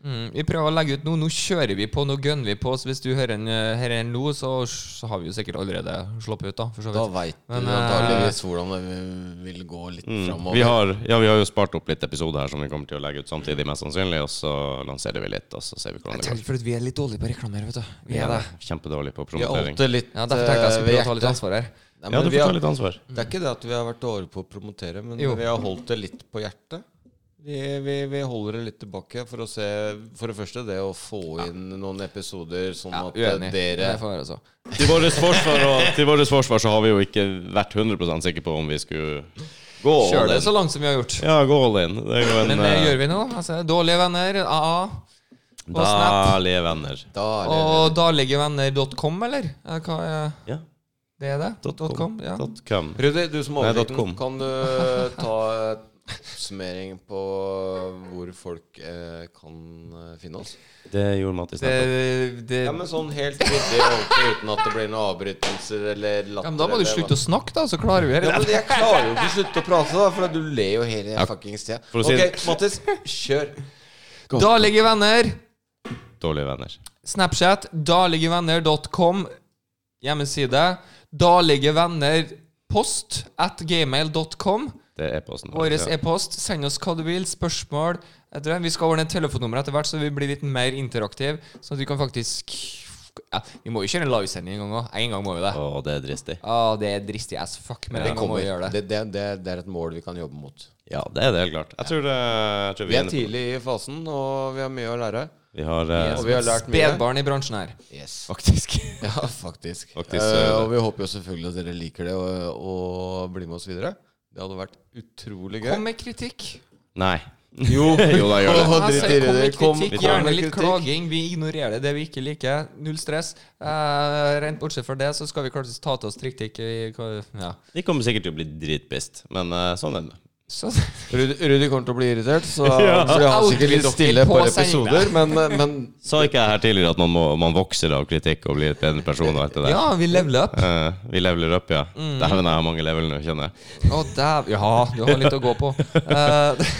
Mm, vi prøver å legge ut nå. Nå kjører vi på, nå gønner vi på. Så hvis du hører en, eh, hører en nå, så, så har vi jo sikkert allerede sluppet ut, da. For så Da vidt. veit du Men, eh, antakeligvis hvordan det vil gå litt framover. Mm, Vi har, ja, vi har jo spart opp litt episoder her som vi kommer til å legge ut samtidig, mest sannsynlig, og så lanserer vi litt, og så ser vi hvordan det går. Fordi vi er litt dårlige på reklamer, vet du. Vi er det. Kjempedårlig på Vi har promotering. alltid litt Ja, Derfor tenkte jeg jeg eh, skulle ved prøve å ta litt hjertet. ansvar her. Nei, men Ja, du vi får ta har- litt ansvar. Det er ikke det at vi har vært dårlige på å promotere, men Jo. vi har holdt det litt på hjertet. Vi, vi, vi holder det litt tilbake for å se For det første det å få inn noen episoder sånn at eh, Uenig. dere Det får være så. Til vårt forsvar, og, til vårt forsvar så har vi jo ikke vært 100 sikre på om vi skulle gå Kjør all det in. så langt som vi har gjort. Ja, gå all in. Det er jo en Men det eh, gjør vi nå. Altså, dårlige venner, AA. Og Snap. dårlige eh, venner. Da er det Og dagligvenner.com, eller? Eh, Hva er Ja. det er det? Dot Dot com, ja. Dot com. Rudi, du som Nei, oversikten, .com. kan du ta eh, oppsummering på hvor folk eh, kan eh, finne oss? Det gjorde Mattis Det, nettopp. det, Ja, ja, men sånn helt ryddig og ordentlig uten at det blir noen avbrytelser eller latter. men da må du slutte å snakke, da, så klarer vi ja, det. men Jeg klarer jo ikke å slutte å prate, da, for du ler jo hele fuckings tida. for å Ok, si Mattis, kjør. Dårlige venner. Dårlige venner. Snapchat. Dagligvenner.com. Hjemmeside. Dagligvennerpost at gmail.com. Det er posten Vår Ja. e-post. Send oss hva du vil. Spørsmål. Jeg tror Vi skal ordne et telefonnummer etter hvert, så vi blir litt mer interaktive. Sånn at vi kan faktisk ja, Vi må jo kjøre en livesending en gang òg. En gang må vi det. Å, det er dristig. Å, det er dristig as fuck, men en gang må vi gjøre Det, det. det, det, det er et mål vi kan jobbe mot. Ja, det er det, helt klart. Jeg tror, det, jeg tror vi, Vi er inne på det. tidlig i fasen, og vi har mye å lære. Vi har eh, Og vi har lært mye. Spedbarn i bransjen her. Yes. faktisk Ja, faktisk. Faktisk, Eh, eh, og vi håper jo selvfølgelig at dere liker det og, og blir med oss videre. Det hadde vært utrolig gøy. Kom med kritikk. Nei. Jo. jo, da gjør det. Åh, Jeg drit i sier det. Kom Altså, med Kom- kritikk, kom gjerne med litt kritikk. klaging. Vi ignorerer det, det vi ikke liker. Null stress. Eh, rent bortsett fra det, så skal vi klart ta til oss trikk-tikk. Ja. De kommer sikkert til å bli dritpist, men eh, sånn er det. Så, Rudi, Rudi kommer til å bli irritert, så han blir han sikkert litt stille Outvider på på episoder. Men, eh, men Sa ikke jeg her tidligere at man, må, man vokser av kritikk og blir et bedre person og alt det der? ja, vi leveler opp. Eh, vi leveler opp, ja. Mm. Dæven, jeg har mange level nå, kjenner jeg. Å, dæv... Ja, du har litt å gå på. Eh,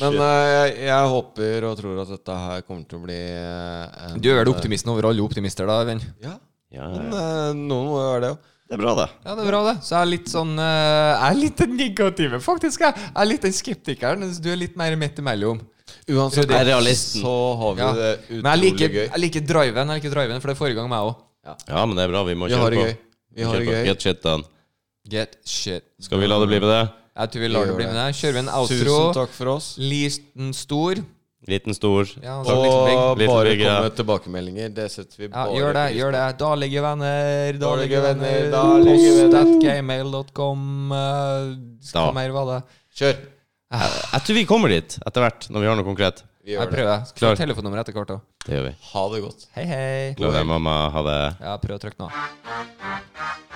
men eh, jeg, jeg håper og tror at dette her kommer til å bli eh, en- du er vel optimisten over alle optimister, da, venn? Ja, Ja, men ja. eh, noen må jo være det òg. Det er bra, det. Ja, det er bra, det. Så jeg er litt sånn eh, Jeg er litt den negative, faktisk. Jeg Jeg er litt den skeptikeren, mens du er litt mer midt imellom. Uansett, Jeg er realisten. så har vi Ja. det Men jeg utrolig liker, gøy. jeg liker driven, jeg liker driven, for det er forrige gang, meg òg. Ja, men det er bra. Vi må Vi har kjøre det på. gøy. Vi har Kjør det på. gøy. Get shit done. Get shit. Skal vi la det bli med det? Jeg tror vi lar det bli med det. Kjører vi en outro. Tusen takk for oss. Listen stor. Liten, stor. Ja, Og så liksom, bing. Liten bare bygge. komme med tilbakemeldinger. Det setter vi ja, bare gjør det, pris gjør det. Daglige venner, daglige venner. venner, daglige Postatgmail.com. Hva Da. Eh, mer var det? Eh. på. Kjør! Jeg tror vi kommer dit etter hvert, når vi gjør noe konkret. Vi Jeg gjør det. prøver. Skal Klar. få telefonnummer etter hvert òg. Det gjør vi. Ha det godt. Hei, hei. Glad i deg, mamma. Ha det. Ja, prøv å trykke nå.